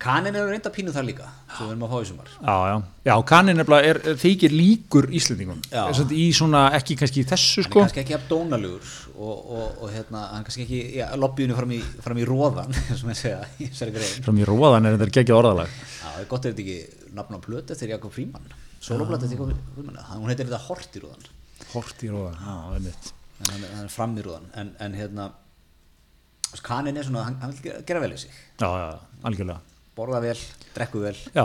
Speaker 1: kanin eru reynda pínu þar líka sem við erum að fá í sumar.
Speaker 2: Já, já. Já, kanin nefnilega er, er, þykir líkur Íslendingum.
Speaker 1: Já.
Speaker 2: Sem sagt Í svona, ekki kannski í
Speaker 1: Hann
Speaker 2: þessu
Speaker 1: er
Speaker 2: sko.
Speaker 1: kannski ekki afdónalugur og, og, og hérna, hann er kannski ekki já, lobbyinu fram í, fram í róðan *laughs* sem ég segja í þessari grein.
Speaker 2: Fram í róðan er þetta geggjað orðalag.
Speaker 1: Já, það er gott ef þetta ekki nafn á plötu eftir Jakob Fríman. Soloplata eftir Jakob Fríman. Hún heitir þetta Hort í róðan.
Speaker 2: Hort í róðan, já, einmitt.
Speaker 1: En hann, er- hann er fram í róðan. En, en hérna, kanin er svona, hann, hann vil gera vel í sig.
Speaker 2: Já, já, já, algjörlega.
Speaker 1: borða vel, drekku vel,
Speaker 2: Já,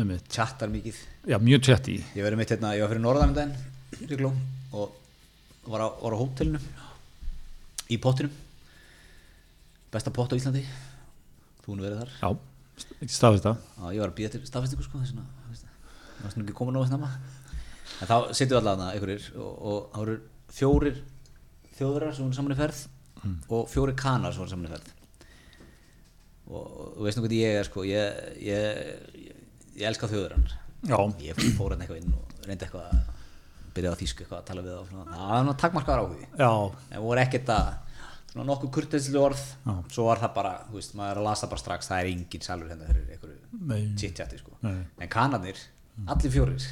Speaker 2: einmitt.
Speaker 1: tjattar mikið
Speaker 2: Já, mjög tjætt í.
Speaker 1: ég verið mitt hérna, ég var fyrir norðamindaginn Sigló, og var á, var á hótelinu í pottinum besta pott á Íslandi þú hún verið þar
Speaker 2: Já, ekki stafið þetta.
Speaker 1: Já, ég var að býja til staðfestingu sko þess vegna, þú veist, ég var svona ekki komin á þess nema en þá sittum við allavega einhverjir og, og það voru fjórir þjóðurar sem voru saman í ferð og fjórir kanar sem voru saman í ferð og, og þú veist nú hvernig ég er sko ég, ég, ég, ég elska þjóðurann
Speaker 2: Já,
Speaker 1: ég fór hérna eitthvað inn og reyndi eitthvað að byrja á þýsku eitthvað að tala við þá svona. það var nú takkmarkaðar áhugi
Speaker 2: já,
Speaker 1: en voru ekkert að svona nokkuð kurteislu orð
Speaker 2: Já.
Speaker 1: svo var það bara, þú veist, maður er að lasa bara strax það er engin salur hérna fyrir einhverju
Speaker 2: Nei.
Speaker 1: chitchati sko,
Speaker 2: Nei. Mm.
Speaker 1: en kanarnir allir fjórir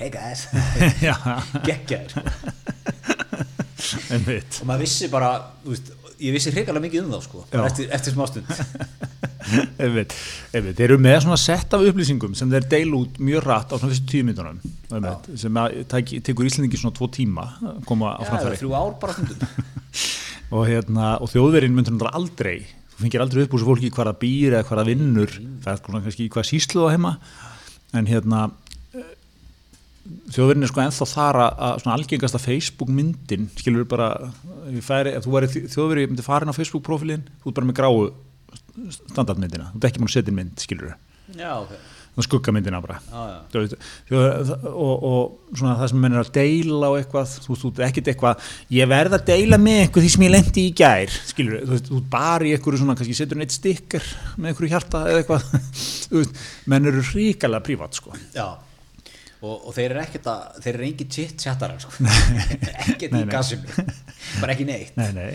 Speaker 1: hey guys, *laughs*
Speaker 2: *laughs* já,
Speaker 1: geggjaðir sko.
Speaker 2: einmitt.
Speaker 1: og maður vissi bara, þú veist ég vissi hrikalega mikið um þá sko, bara
Speaker 2: Já.
Speaker 1: eftir, eftir
Speaker 2: *laughs*
Speaker 1: smástund
Speaker 2: einmitt, einmitt. Þeir eru með svona sett af upplýsingum sem þeir deil út mjög rætt á svona fyrstu tíu myndunum. Einmitt, sem að tæki, tekur Íslendingi svona tvo tíma að koma á
Speaker 1: Já,
Speaker 2: framfæri.
Speaker 1: eða þrjú ár bara
Speaker 2: *laughs*
Speaker 1: stundum
Speaker 2: og, hérna, og þjóðverinn myndur náttúrulega aldrei þú fengir aldrei upp úr þessu fólki hvar það býr eða hvar það vinnur, það er svona kannski í hvað sýslu það heima en hérna eh, þjóðverinn er sko ennþá þar að, að svona algengasta Facebook myndin skilur bara, ef, ég færi, ef þú væri þj- þjóðverið, ég myndi farin á Facebook profilin þú ert bara með gráu st- standardmyndina þú ert ekki múin að setja inn mynd, skilur
Speaker 1: já, ok,
Speaker 2: það skuggamyndina bara
Speaker 1: já, já
Speaker 2: Þú veist, þú- og, og svona það sem menn er að deila og eitthvað, þú veist, þú ert ekkert eitthvað ég verð að deila með eitthvað því sem ég lendi í gær skilur, þú veist, þú ert bara í eitthvað svona, kannski setur hann eitt stikkar með eitthvað hjarta eða eitthvað, *laughs* þú veist menn eru ríkalega prívat, sko
Speaker 1: Já og, og þeir eru ekkert að, þeir eru engin chit chattarar sko. *laughs* ekkert í
Speaker 2: Nei, nei.
Speaker 1: gassum bara ekki neitt
Speaker 2: nei, nei, nei,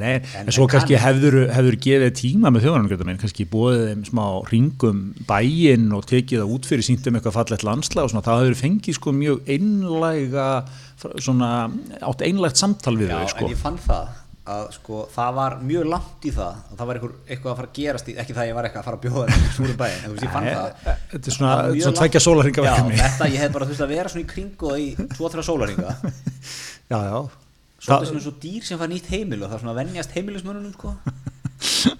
Speaker 2: nei.
Speaker 1: En-
Speaker 2: en, svo
Speaker 1: en
Speaker 2: kannski hefur, hefur gefið tíma með þjóðanum minn, kannski bóðið þeim smá ringum bæinn og tekið það út fyrir síndum eitthvað fallegt landslag og svona, það hefur fengið sko mjög einlæga svona, átt einlægt samtal við
Speaker 1: Já,
Speaker 2: þau sko.
Speaker 1: en ég fann það að sko, það var mjög langt í það og það var einhver, eitthvað að fara að gerast í, ekki það að ég var eitthvað að fara að bjóða þeim úr um bæinn, en þú veist, ég fann
Speaker 2: Nei, eh,
Speaker 1: það
Speaker 2: þetta er svona-
Speaker 1: Það var mjög
Speaker 2: svona
Speaker 1: langt-
Speaker 2: tveggja sólarhringa verkefni.
Speaker 1: Já, þetta, ég hef bara þurft að vera svona í kring og í 2-3 sólaringa
Speaker 2: *laughs* já, já.
Speaker 1: svolítið svona svo dýr sem fara nýtt heimil og það er svona að venjast heimilismönunum sko.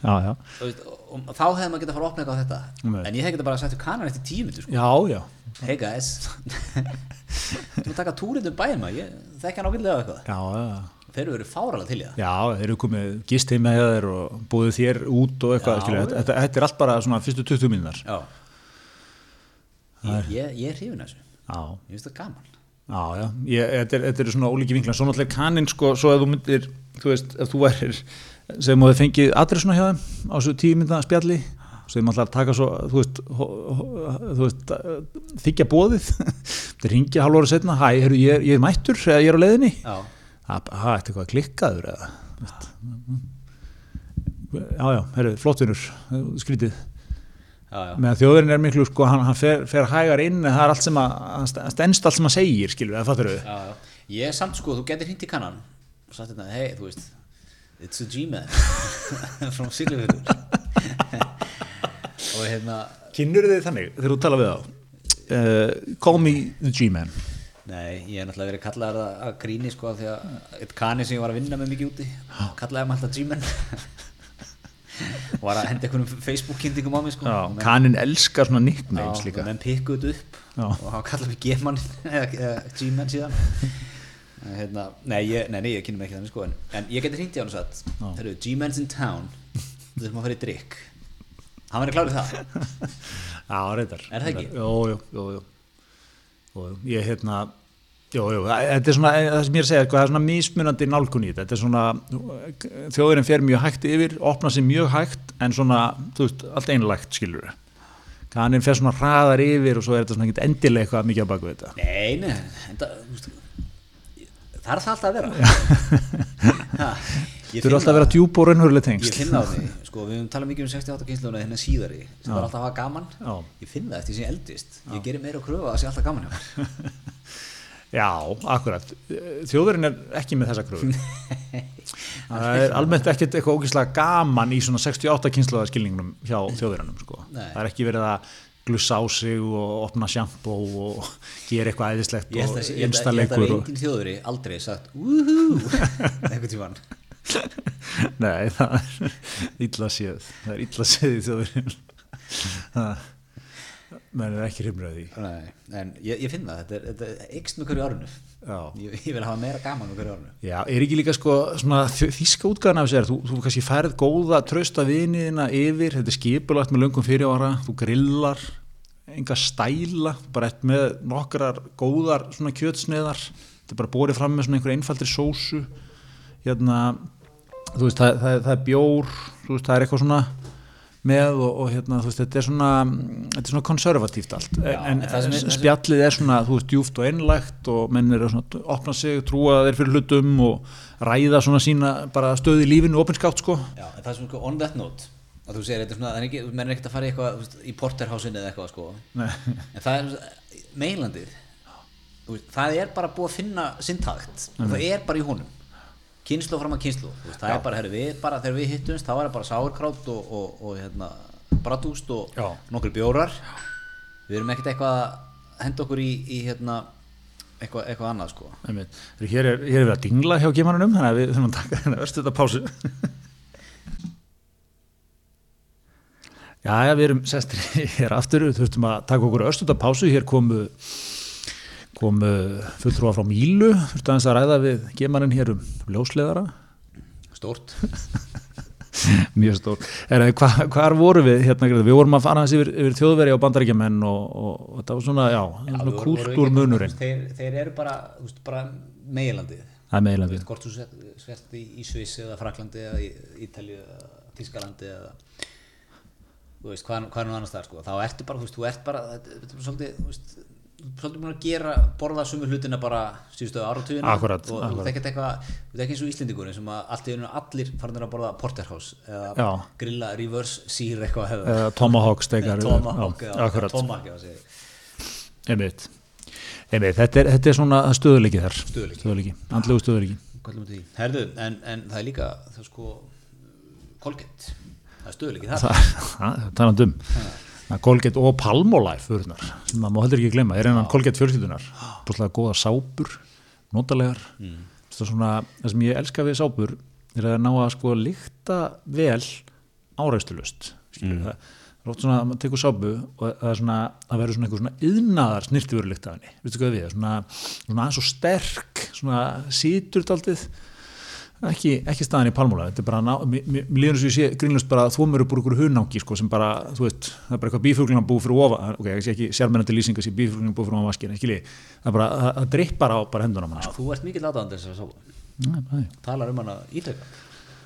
Speaker 2: já, já,
Speaker 1: Þú veist, og, og þá hefði maður getað að fara að opna eitthvað á þetta
Speaker 2: Nei.
Speaker 1: en ég hef getað bara að setja kanan eftir tíu myndir sko.
Speaker 2: já, já
Speaker 1: hey guys *laughs* þú taka túrinn um bæinn maður, ég þekki hann ágætlega eitthvað
Speaker 2: já, já,
Speaker 1: þeir eru verið fáralega til í það
Speaker 2: já, þeir eru komið gist heima hjá þér og búið þér út og eitthvað,
Speaker 1: Já,
Speaker 2: skilja,
Speaker 1: já.
Speaker 2: þetta, þetta er allt bara svona fyrstu 20 mínunar já,
Speaker 1: Já Ég, ég, ég er hrifin af þessu
Speaker 2: já,
Speaker 1: Ég finnst það gaman
Speaker 2: já ég, þetta, er, þetta er svona ólíki vinkla, svo náttúrulega kaninn sko, svo að þú myndir, þú veist, ef þú værir sem þú hefur fengið adressuna hjá þeim á þessu tíu mínuna spjalli sem alltaf taka svo, þú veist, ho, ho, þú veist eh, þykja bóðið *laughs* þeir ringja halvóra setna, hæ, heyrðu, ég, er- ég er mættur eða ég er á leiðinni
Speaker 1: Já,
Speaker 2: Það er eitthvað að klikkaður eða veist. Já, já, herru, flottunur skrítið
Speaker 1: já, já.
Speaker 2: meðan þjóðurinn er miklu sko, hann, hann fer, fer hægar inn en það er allt sem að, hann st- hann stenst allt sem að segir skilur, það fattur við
Speaker 1: Já, já. Ég er samt sko, þú getur hringt í kannan og sagt hérna, hei, þú veist It's a *laughs* G-man from Siglufjörður *laughs* og hérna
Speaker 2: Kynnur þið þannig þegar þú tala við þá uh, Call me the G-man
Speaker 1: Nei, ég hef náttúrulega verið kallaðar að- að gríni sko af því að eitt kani sem ég var að vinna með mikið úti kallaði maður alltaf G-man og *laughs* var að henda einhvernum Facebook-kynningum á mig sko
Speaker 2: Já,
Speaker 1: Og menn-
Speaker 2: Kanin elskar svona
Speaker 1: Já,
Speaker 2: nicknames
Speaker 1: og
Speaker 2: líka
Speaker 1: menn pikkuðu þetta upp
Speaker 2: Já.
Speaker 1: og hann kallaði mig G-man *laughs* eða eða G-man
Speaker 2: *laughs*
Speaker 1: síðan En hérna, nei, ég, nei, nei, ég kynna mig ekki þannig sko en, en ég geti hringt í hann og sagt
Speaker 2: Já.
Speaker 1: Hörru, G-man's in town við þurfum að fara í drikk hann verður klárið það
Speaker 2: *laughs* Já, reyndar
Speaker 1: Er það ekki?
Speaker 2: Jó, jó, jó, jó. Jó, jó. Ég hérna Jó, jó, þetta er svona, það sem ég er að segja, sko, það er svona mismunandi nálgun í þetta, þetta er svona, þjóðurinn fer mjög hægt yfir, opnar sér mjög hægt, en svona, þú veist, allt einlægt skilur við. Kaninn fer svona hraðar yfir og svo er þetta svona ekkert endilega eitthvað mikið á baku þetta.
Speaker 1: nei, nei, enda, þú veist, það er það alltaf að vera *laughs* Ha, ég
Speaker 2: Þú eru
Speaker 1: finn
Speaker 2: alltaf að vera
Speaker 1: það-
Speaker 2: djúb og raunhörlega
Speaker 1: ég
Speaker 2: tengst.
Speaker 1: finn það á því, sko, við höfum talað mikið um 68 kynsluna hérna síðari, sem
Speaker 2: Já.
Speaker 1: var alltaf að hafa gaman
Speaker 2: Já.
Speaker 1: ég finn það eftir sem ég eldist ég gerir meira að kröfa að það sé alltaf gaman hjá mér
Speaker 2: *laughs* Já, akkurat. Þjóðurinn er ekki með þessa
Speaker 1: *laughs*
Speaker 2: kröfu. Það er almennt ekkert eitthvað ógeðslega gaman í svona 68 kynnslóðaskilningnum hjá þjóðurinnum sko.
Speaker 1: Nei.
Speaker 2: Það er ekki verið að glussa á sig og opna sjampó og gera eitthvað æðislegt
Speaker 1: Ég held
Speaker 2: og
Speaker 1: að sé- ég held að- ég held að
Speaker 2: einstalegur og...
Speaker 1: engin þjóðuri aldrei sagt Woohoo einhvern tímann
Speaker 2: *laughs* Nei, það er illa séð. Það er illa séð í
Speaker 1: *laughs*
Speaker 2: þjóðurinn. Menn er ekki hrifnur af því.
Speaker 1: Nei, En ég, ég finn það, þetta, er- þetta eikst með hverju árunu
Speaker 2: Já.
Speaker 1: ég, ég vil hafa meira gaman með hverju árunu
Speaker 2: Já, er ekki líka sko svona þjó- þýska útgáðan af sér, þú, þú kannski færð góða trösta viniðina yfir, þetta er skipulagt með löngum fyrirvara, þú grillar, enga stæla, bara ett með nokkrar góðar svona kjötsneðar, þetta er bara borið fram með svona einhver einfaldri sósu, hérna, þú veist, það, það, það er bjór, þú veist, það er eitthvað svona með og, og hérna, þú veist, þetta er svona, mm, þetta er svona konservatíft allt,
Speaker 1: Já,
Speaker 2: en,
Speaker 1: en það sem er-
Speaker 2: en
Speaker 1: það sem-
Speaker 2: spjallið er svona, þú veist, djúft og einlægt og menn eru svona, að opna sig, trúa þeir fyrir hlutum og ræða svona sína bara stöð í lífinu, opinskátt sko
Speaker 1: Já, en það sem sko on that note að þú segir, þetta er svona, það er ekki, menn er ekkert að fara í eitthvað þú veist, í porterhásinni eða eitthvað sko
Speaker 2: Nei.
Speaker 1: en það er svona- meginlandið þú veist, það er bara búið að finna sintakt, mm.
Speaker 2: Mhm.
Speaker 1: það er bara í honum kynslu fram að kynslu veist, það er bara, herri, við, bara þegar við hittumst þá er það bara sárkrátt og, og, og hérna, bratúst og
Speaker 2: Já.
Speaker 1: nokkur bjórar við erum ekkert eitthvað að henda okkur í, í hérna, eitthvað, eitthvað annað sko
Speaker 2: Einmitt. Eru, Hér er, hér er við að dingla hjá gemanunum þannig að við þurfum að taka þennan örstu þetta pásu Jæja, við erum sestir *laughs* hér aftur, við þurftum að taka okkur örstu þetta pásu, hér komu komu fulltrúa frá Mílu þurftum aðeins að ræða við gemanun hér um ljósleðara
Speaker 1: stórt
Speaker 2: *laughs* Mjög stór. Herra, hva, hvar vorum við hérna? Gréta? Við vorum að fara hans yfir, yfir þjóðveri og bandaríkjamenn og, og, og þetta var svona, já,
Speaker 1: Við
Speaker 2: svona
Speaker 1: vorum- vorum við ekki-
Speaker 2: kúltúrmunurinn.
Speaker 1: þeir, þeir eru bara, þú veist, bara meginlandið
Speaker 2: Það er meðlega við.
Speaker 1: hvort þú sett- sért í, í Sviss eða Fraklandi eða í Ítalju eða Tískalandi eða þú veist, hvað, er- hvað er nú annars það sko þá ertu bara, þú veist, þú ert bara þetta þetta er bara svolítið, þú veist þú ert svolítið búin að gera, borða sumu hlutina bara síðustu áratugina
Speaker 2: Akkúrat,
Speaker 1: og þú
Speaker 2: akkúrat.
Speaker 1: ert ekkert eitthvað, þú ert ekki eins og Íslendingurinn sem að allt í einu allir farnir að borða porterhouse eða
Speaker 2: Já.
Speaker 1: grilla reverse sear eitthvað eða
Speaker 2: Uh, Tomahawk steikar.
Speaker 1: tomahawk
Speaker 2: já,
Speaker 1: eða
Speaker 2: Akkurat,
Speaker 1: tomahawk eða segir
Speaker 2: einmitt. Einmitt, þetta er, þetta er svona stöðuleiki þar.
Speaker 1: Stöðugleiki.
Speaker 2: Andlegu stöðuleiki.
Speaker 1: Kallum við því. Herðu, en, en það er líka það er sko kolkett það er stöðleikið þar
Speaker 2: Það það er talandum. Það er Colgate og Palmolive vörunar, sem maður má heldur ekki glemma, er einan Colgate fjölskyldunar, búinlega góða sápur, notalegar, það er svona, það sem ég elska við sápur er að ná að sko líkta vel áreistulust, skilur mm. það, það er oft svona að maður tekur sápu og það er svona, það verður svona einhver svona yðnaðar snirtivörulikt af henni, veistu hvað við, svona, svona aðeins og sterk, svona sýtur daldið, ekki, ekki staðan í palmóla þetta er bara, ná- mér- mér mér líður eins og ég sé grínlust bara að þvo mér upp úr ykkur hunangi sko, sem bara, þú veist, það er bara eitthvað bífuglunabú fyrir ofa, ok, ég sé ekki sérmennandi lýsing að sé bífuglunabú fyrir ofa vaskir, ekki lið það er bara, það, það drippar á sko. bara henduna mann sko.
Speaker 1: Já, þú ert mikill aðdáðan þess að sá
Speaker 2: Nei, bara því.
Speaker 1: talar um hana ítrekka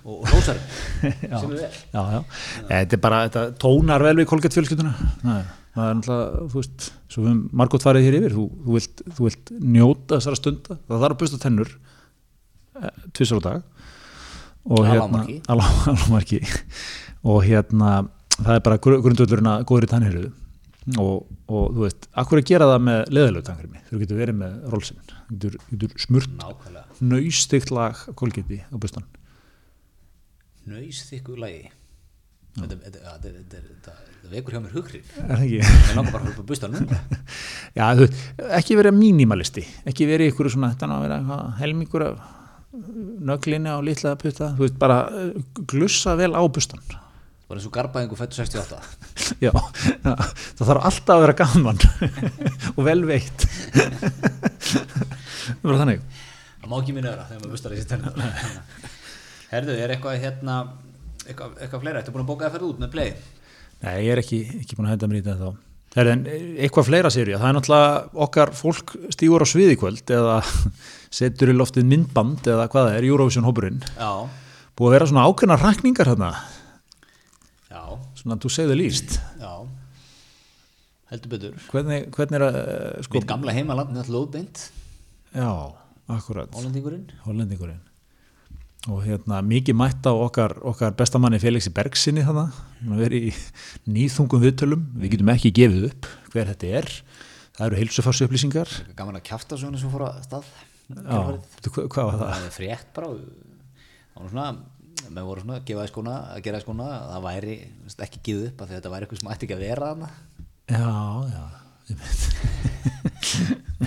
Speaker 1: og og hrósar henni, sem er vel
Speaker 2: *laughs* já, já, þetta er bara, þetta tónar vel við kolgætt fjölskylduna Nei, það er náttúrulega, þú veist, svo við höfum margótt farið hér yfir, þú, þú, vilt, þú vilt njóta þessara stunda, það þarf að busta tennur tvisar á dag og
Speaker 1: Að
Speaker 2: hérna
Speaker 1: lágmarki.
Speaker 2: *laughs* að lá- að lágmarki og hérna það er bara gru- grundvöllurinn að góðri tannhyrðu og, og þú veist, akkur að gera það með leðalög tannkrimi, þú getur verið með rólsinn, þú getur, getur smurt
Speaker 1: nákvæmlega
Speaker 2: nöystikt lag kólgeti á bustan
Speaker 1: nöysþykku lagi þetta, þetta, þetta, þetta, þetta, þetta, þetta vekur hjá mér hugrif
Speaker 2: er það ekki?
Speaker 1: ég langar bara að hlupa busta núna
Speaker 2: Já, þú veist, ekki verið mínimalisti, ekki verið ykkur svona, þetta ná að vera eitthvað helmingur af nöglinni á litla putta, þú veist, bara eh, glussa vel á bustan
Speaker 1: bara eins og garbaðingu fættu 68
Speaker 2: Já, *laughs* það þarf alltaf að vera gaman *laughs* og vel *laughs* veitt Það var þannig
Speaker 1: það má ekki minna öðra þegar maður bustar þessi tennar
Speaker 2: *laughs*
Speaker 1: herðu, er eitthvað hérna eitthvað, eitthvað fleira, ertu búin að bóka það ferð út með play
Speaker 2: Nei, ég er ekki, ekki búin að henda mér í þetta þá Herri, en eh, eitthvað fleira sér ég, það er náttúrulega okkar fólk stígur á sviði í kvöld eða *laughs* setur í loftið myndband eða hvað það er, Eurovision hópurinn
Speaker 1: já,
Speaker 2: búið að vera svona ákveðna rakningar hérna
Speaker 1: já,
Speaker 2: svona to say the least
Speaker 1: já heldur betur
Speaker 2: hvernig, hvernig er að eh, sko,
Speaker 1: mitt gamla heimaland, náttúrulega lóðbeint
Speaker 2: já, akkurat
Speaker 1: Hollandingurinn
Speaker 2: hollendingurinn og hérna mikið mætt á okkar, okkar bestamanni Félixi Bergsinni þannig að vera í nýþungum viðtölum við getum ekki gefið upp hver þetta er það eru heilsufarsu upplýsingar
Speaker 1: gaman að kjafta svona sem fór að stað
Speaker 2: Já, veitu hvað, hvað var það?
Speaker 1: það er frétt bara það var nú svona menn voru svona að gefa í skóna að gera í skóna að það væri þú veist, ekki gíð upp að þetta væri eitthvað sem ætti ekki að vera þarna
Speaker 2: Já, já, *laughs* ég veit,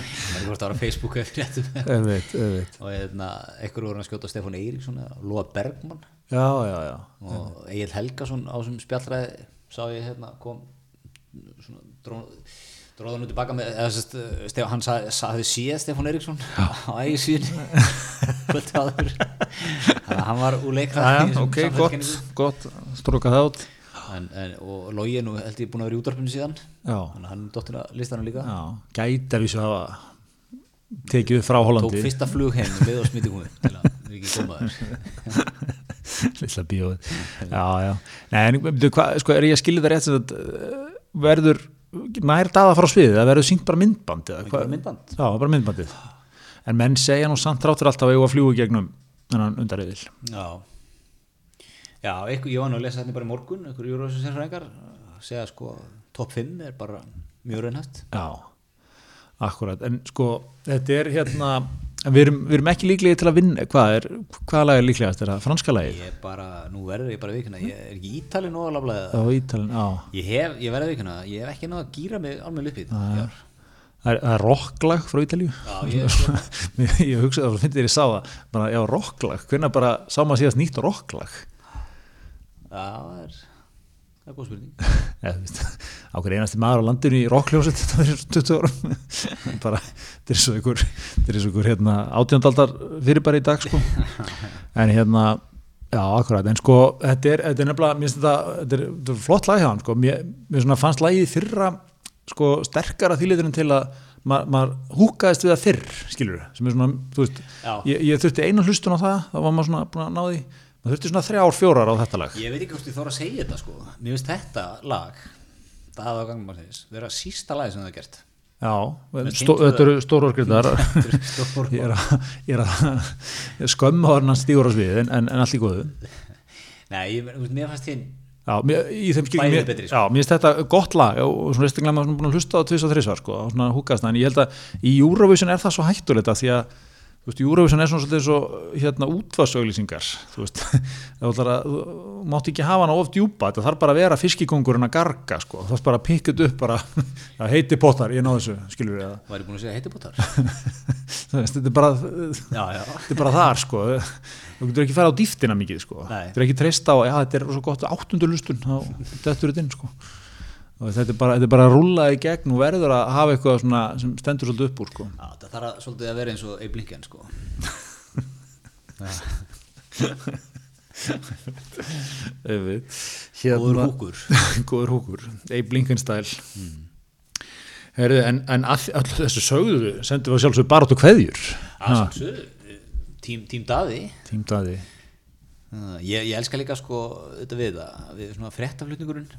Speaker 1: það er hvort að vera á Facebooku eða fréttum
Speaker 2: ég veit, ég veit.
Speaker 1: og hérna, einhver voru að skjóta Stefán Eiríksson eða Lóa Bergmann
Speaker 2: Já, já, já,
Speaker 1: og Egil Helgason á sem spjallræði sá ég hérna kom svona dró- dróð hann út í baka með eða, sest, stef, hann sagði, sagði síða Stefán Eriksson á ægir síðan
Speaker 2: *laughs*
Speaker 1: kvöldi áður þannig að hann var úr leikra
Speaker 2: já, já ok, gott, gott, stróka það út
Speaker 1: en, en, og Lógi er nú held ég búin að vera í útarpinu síðan
Speaker 2: Já,
Speaker 1: þannig að hann er dottina listanum líka
Speaker 2: já, gæti að við svo hafa tekið upp frá
Speaker 1: tók
Speaker 2: Hollandi
Speaker 1: fyrsta flug heim leið og smiti komið til að við ekki koma
Speaker 2: *laughs*
Speaker 1: þér
Speaker 2: Lilla bíóið Já, já Nei, en byrju, hva, sko, er ég að skilja það rétt sem þetta uh, verður nær daða frá sviðið það verður syngt bara myndband eða hvað?
Speaker 1: bara myndband.
Speaker 2: Já, bara myndbandið En menn segja nú samt ráttur alltaf að ég var að fljúi gegnum þennan undarriðil
Speaker 1: já já, einhver, ég var nú að lesa þetta bara í morgun einhver júruvísu sérfræðingar segja sko top 5 er bara mjög raunhæft
Speaker 2: Já, akkurat En sko, þetta er hérna en við erum, við erum ekki líklegið til að vinna hvað er, hvaða lag er líklegast, er það franska lagið?
Speaker 1: Ég er bara, nú verður ég bara að vikuna, ég er ekki ítali nú alveg
Speaker 2: Já, Ítalin, já
Speaker 1: Ég hef, ég verður að vikuna, ég hef ekki náð að gýra mig alveg upp í þetta í ár.
Speaker 2: Það er, það er rocklag frá Ítalíu
Speaker 1: Já, ég-
Speaker 2: ég, *laughs* ég hugsaði að það finnir ég sá það bara, já, rocklag, hvernig bara sá maður síðast nýtt rocklag
Speaker 1: Já, það er, það er góð spurning.
Speaker 2: eða, þú veist, á hver einasti maður *laughs* á landinu í rockljóset þetta fyrir 20 árum *laughs* bara, þetta er svo ykkur þetta er svo ykkur, hérna, átjöndaldar fyrir bara í dag, sko en hérna, já, akkurat, en sko þetta er, þetta er nefnilega, mér finnst þetta þetta er, þetta er flott lag hjá hann, sko mér, mér svona fannst lagið í fyrra, sko sterkara þýleiturinn til að maður maður húkaðist við það fyrr, skilur sem er svona, þú veist,
Speaker 1: Já.
Speaker 2: ég, ég þurfti eina hlustun á það, þá var maður svona búin að ná því maður þurfti svona þrjár, fjórar á þetta lag
Speaker 1: Ég veit ekki hvort ég þóra að segja þetta sko. Mér finnst þetta lag, það á gangum að þeins, vera sísta lag sem það er gert.
Speaker 2: Já, stó,
Speaker 1: tengdu
Speaker 2: þetta eru stórorgriðar
Speaker 1: Stór,
Speaker 2: *laughs* ég er að, ég er að *laughs* skömmu hann hann stígur á sviðið en, en, en allt í góðu
Speaker 1: nei, ég, þú veist, mér fannst hinn,
Speaker 2: Já, mér, í þeim skilur,
Speaker 1: Bæði
Speaker 2: mér,
Speaker 1: betri, sko.
Speaker 2: já, mér finnst þetta gott lag og, og svona reistinglega maður svona búin að hlusta á tvis og þrisvar sko, og svona húkast það, en ég held að í Eurovision er það svo hættulegt að því að þú veist, Eurovision er svona svolítið svo hérna útvarsauglýsingar, þú veist *laughs* það var að, þú mátt ekki hafa hana of djúpa þetta þarf bara að vera fiskikongurinn að garga sko, það þarf bara að pikka þetta upp bara *laughs* "Já, heiti pottar, ég náðu þessu, skilur við
Speaker 1: var ég búin að segja heitibótar?
Speaker 2: *laughs* þetta er bara
Speaker 1: já, já.
Speaker 2: þetta er bara þar sko þú getur ekki fara á dýftina mikið sko
Speaker 1: Nei.
Speaker 2: þú getur ekki treyst á, já þetta er svo gott áttundu lustun þá dettur þetta inn sko og þetta er bara, þetta er bara að rúlla í gegn og verður að hafa eitthvað svona sem stendur svolítið upp úr sko
Speaker 1: Já, það þarf að, svolítið að vera eins og eiblingan sko. Góður húkur.
Speaker 2: *laughs*
Speaker 1: Hmm.
Speaker 2: góður húkur, Abe Lincoln style Herðu, en, en all, all þessu sögðu sendum við sjálfsög bara áttu kveðjur
Speaker 1: Ah. Tím, tím Daði.
Speaker 2: tímdaði
Speaker 1: Uh, Ég, ég elska líka sko þetta við það, við svona fréttaflutningurinn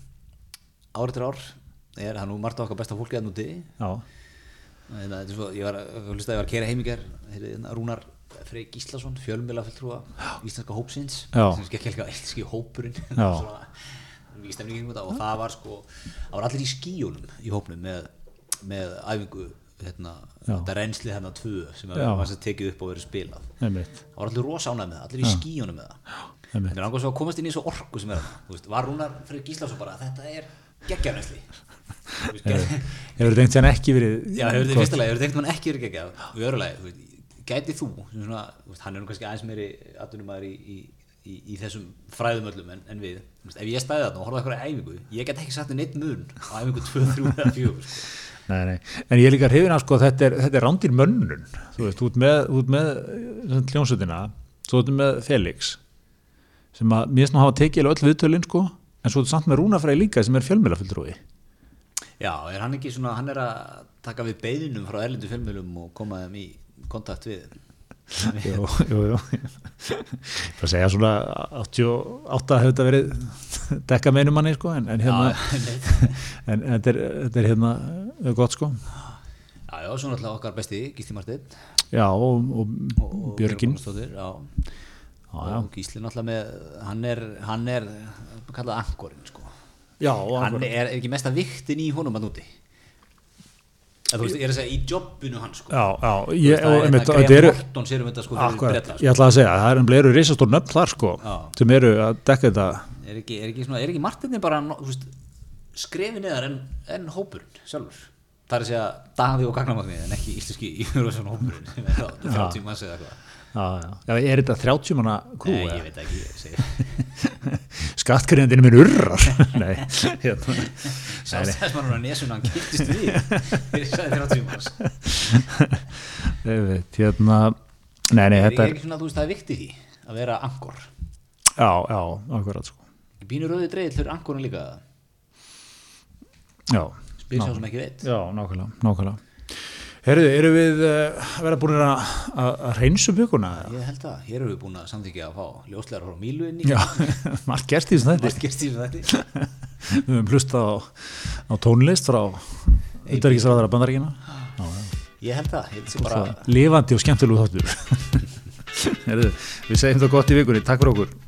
Speaker 1: ár eftir ár er það nú margt á okkar besta fólki að núti
Speaker 2: já,
Speaker 1: þetta er svo, ég var að ég hlusta að ég var að kera heimingar hérna, Rúnar Frey Gíslason fjölmjöla fulltrúa íslenska hópsins
Speaker 2: Já.
Speaker 1: sem skekk helga íslenski hópurinn
Speaker 2: Já.
Speaker 1: *laughs* Svona, mikið stemning kringum þetta og það var sko það var allir í skíunum í hópnum með, með æfingu hérna,
Speaker 2: Já.
Speaker 1: þetta reynsli hérna tvö sem að
Speaker 2: Já.
Speaker 1: var sem tekið upp og verið spilað
Speaker 2: einmitt
Speaker 1: það var allir rosánað með það, allir í skíunum með það *laughs*
Speaker 2: einmitt.
Speaker 1: en langar svo að komast inn í svo orku sem er þarna, þú veist, var Rúnar fyrir Gíslásson bara þetta er geggjarnesli *laughs*
Speaker 2: hefur þetta einhvern ekki verið
Speaker 1: Já, hefur þið fyrsta lagi, hefur þið einhvern veginn ekki verið geggjað og í öðru lagi, þú veit, gæti þú sem svona, þú veist, hann er nú kannski aðeins meiri atvinnumæður í, í, í, í þessum fræðum öllum en, en við, Þú veist, ef ég stæði þarna og horfði eitthvað æfingu, ég get ekki satt um neitt mun á æfingu 2, 3 eða 4 sko.
Speaker 2: Nei, nei. En ég er líka hrifin að sko, þetta er, þetta er rándir mönnun. Þú veist, út með, út með sem sagt, hljómsveitina, svo út með Felix, sem að mér snú hafa tekið alveg öll viðtölin, sko, en svo út samt með Rúnafræði líka, sem er fjölmjölafulltrúi.
Speaker 1: Já, er hann ekki svona, hann er að taka við beiðinum frá erlindu fjölmjölum og koma þeim í kontakt við
Speaker 2: Jú, jú, jú. Það segja svona 88 hefur þetta verið dekka meinum manni, sko, en, en hérna,
Speaker 1: Já,
Speaker 2: en þetta er, þetta er hérna eh, gott, sko.
Speaker 1: já, já, svona alltaf okkar besti, Gísli Martin
Speaker 2: Já, og, og, Björgin.
Speaker 1: Björnsdóttir, já. og Gísli náttúrulega með hann er, hann er kallað angorinn sko.
Speaker 2: Já, og
Speaker 1: hann er, er ekki mesta viktin í honum að núti að þú veist, ég er að segja í jobbinu hann sko.
Speaker 2: Já, já,
Speaker 1: Þú
Speaker 2: ég,
Speaker 1: veist, það
Speaker 2: og
Speaker 1: er
Speaker 2: einmitt,
Speaker 1: þetta
Speaker 2: og þetta
Speaker 1: Graham
Speaker 2: eru,
Speaker 1: Horton sér um þetta sko, fyrir
Speaker 2: Akkurat,
Speaker 1: brella, sko.
Speaker 2: ég ætla að segja, það er ennblega eru risastór nöfn þar sko,
Speaker 1: Já.
Speaker 2: sem eru að dekka þetta
Speaker 1: er ekki, er ekki, svona- er ekki Martinni bara no- þú veist, skrefi neðar en, en hópurinn sjálfur það er að segja Daði og Gagnamatni en ekki íslenski *laughs* Eurovision hópurinn sem er á 30 manns eða eitthvað
Speaker 2: já, já. já, er þetta 30 manna krú
Speaker 1: Nei, ég veit ekki, ég
Speaker 2: *laughs*
Speaker 1: segi
Speaker 2: skattgreðandinn minn urrar *laughs* Nei, hérna *laughs*
Speaker 1: Sjálfstæðismannur á nesunum, hann kynntist við Ég sagði 30 manns
Speaker 2: Nei, veit, hérna Nei, nei,
Speaker 1: er,
Speaker 2: þetta
Speaker 1: er
Speaker 2: er,
Speaker 1: ekki svona, þú veist, það er viktið því að vera angor
Speaker 2: já, já, akkurat sko
Speaker 1: Bínu rauði dreigð fyrir angorinn líka
Speaker 2: Já,
Speaker 1: spyr sá sem ekki veit
Speaker 2: já, nákvæmlega, nákvæmlega Herðu, eru við uh, að vera búin að, að, að reynsu bygguna?
Speaker 1: Ég held að, hér erum við búin að samþykja að fá ljóslegar frá Mílu inn í *laughs*
Speaker 2: Já, *laughs* margt gerst í þessum þetta
Speaker 1: Margt gerst í þessu þætti.
Speaker 2: Við höfum hlustað á, á tónlist frá Uttaríkisræðara bandaríkina Já, já
Speaker 1: Ég held að, ég held að bara
Speaker 2: *laughs* bara lifandi og skemmtilegu þáttur Heyrðu, við segjum það gott í vikunni, takk fyrir okkur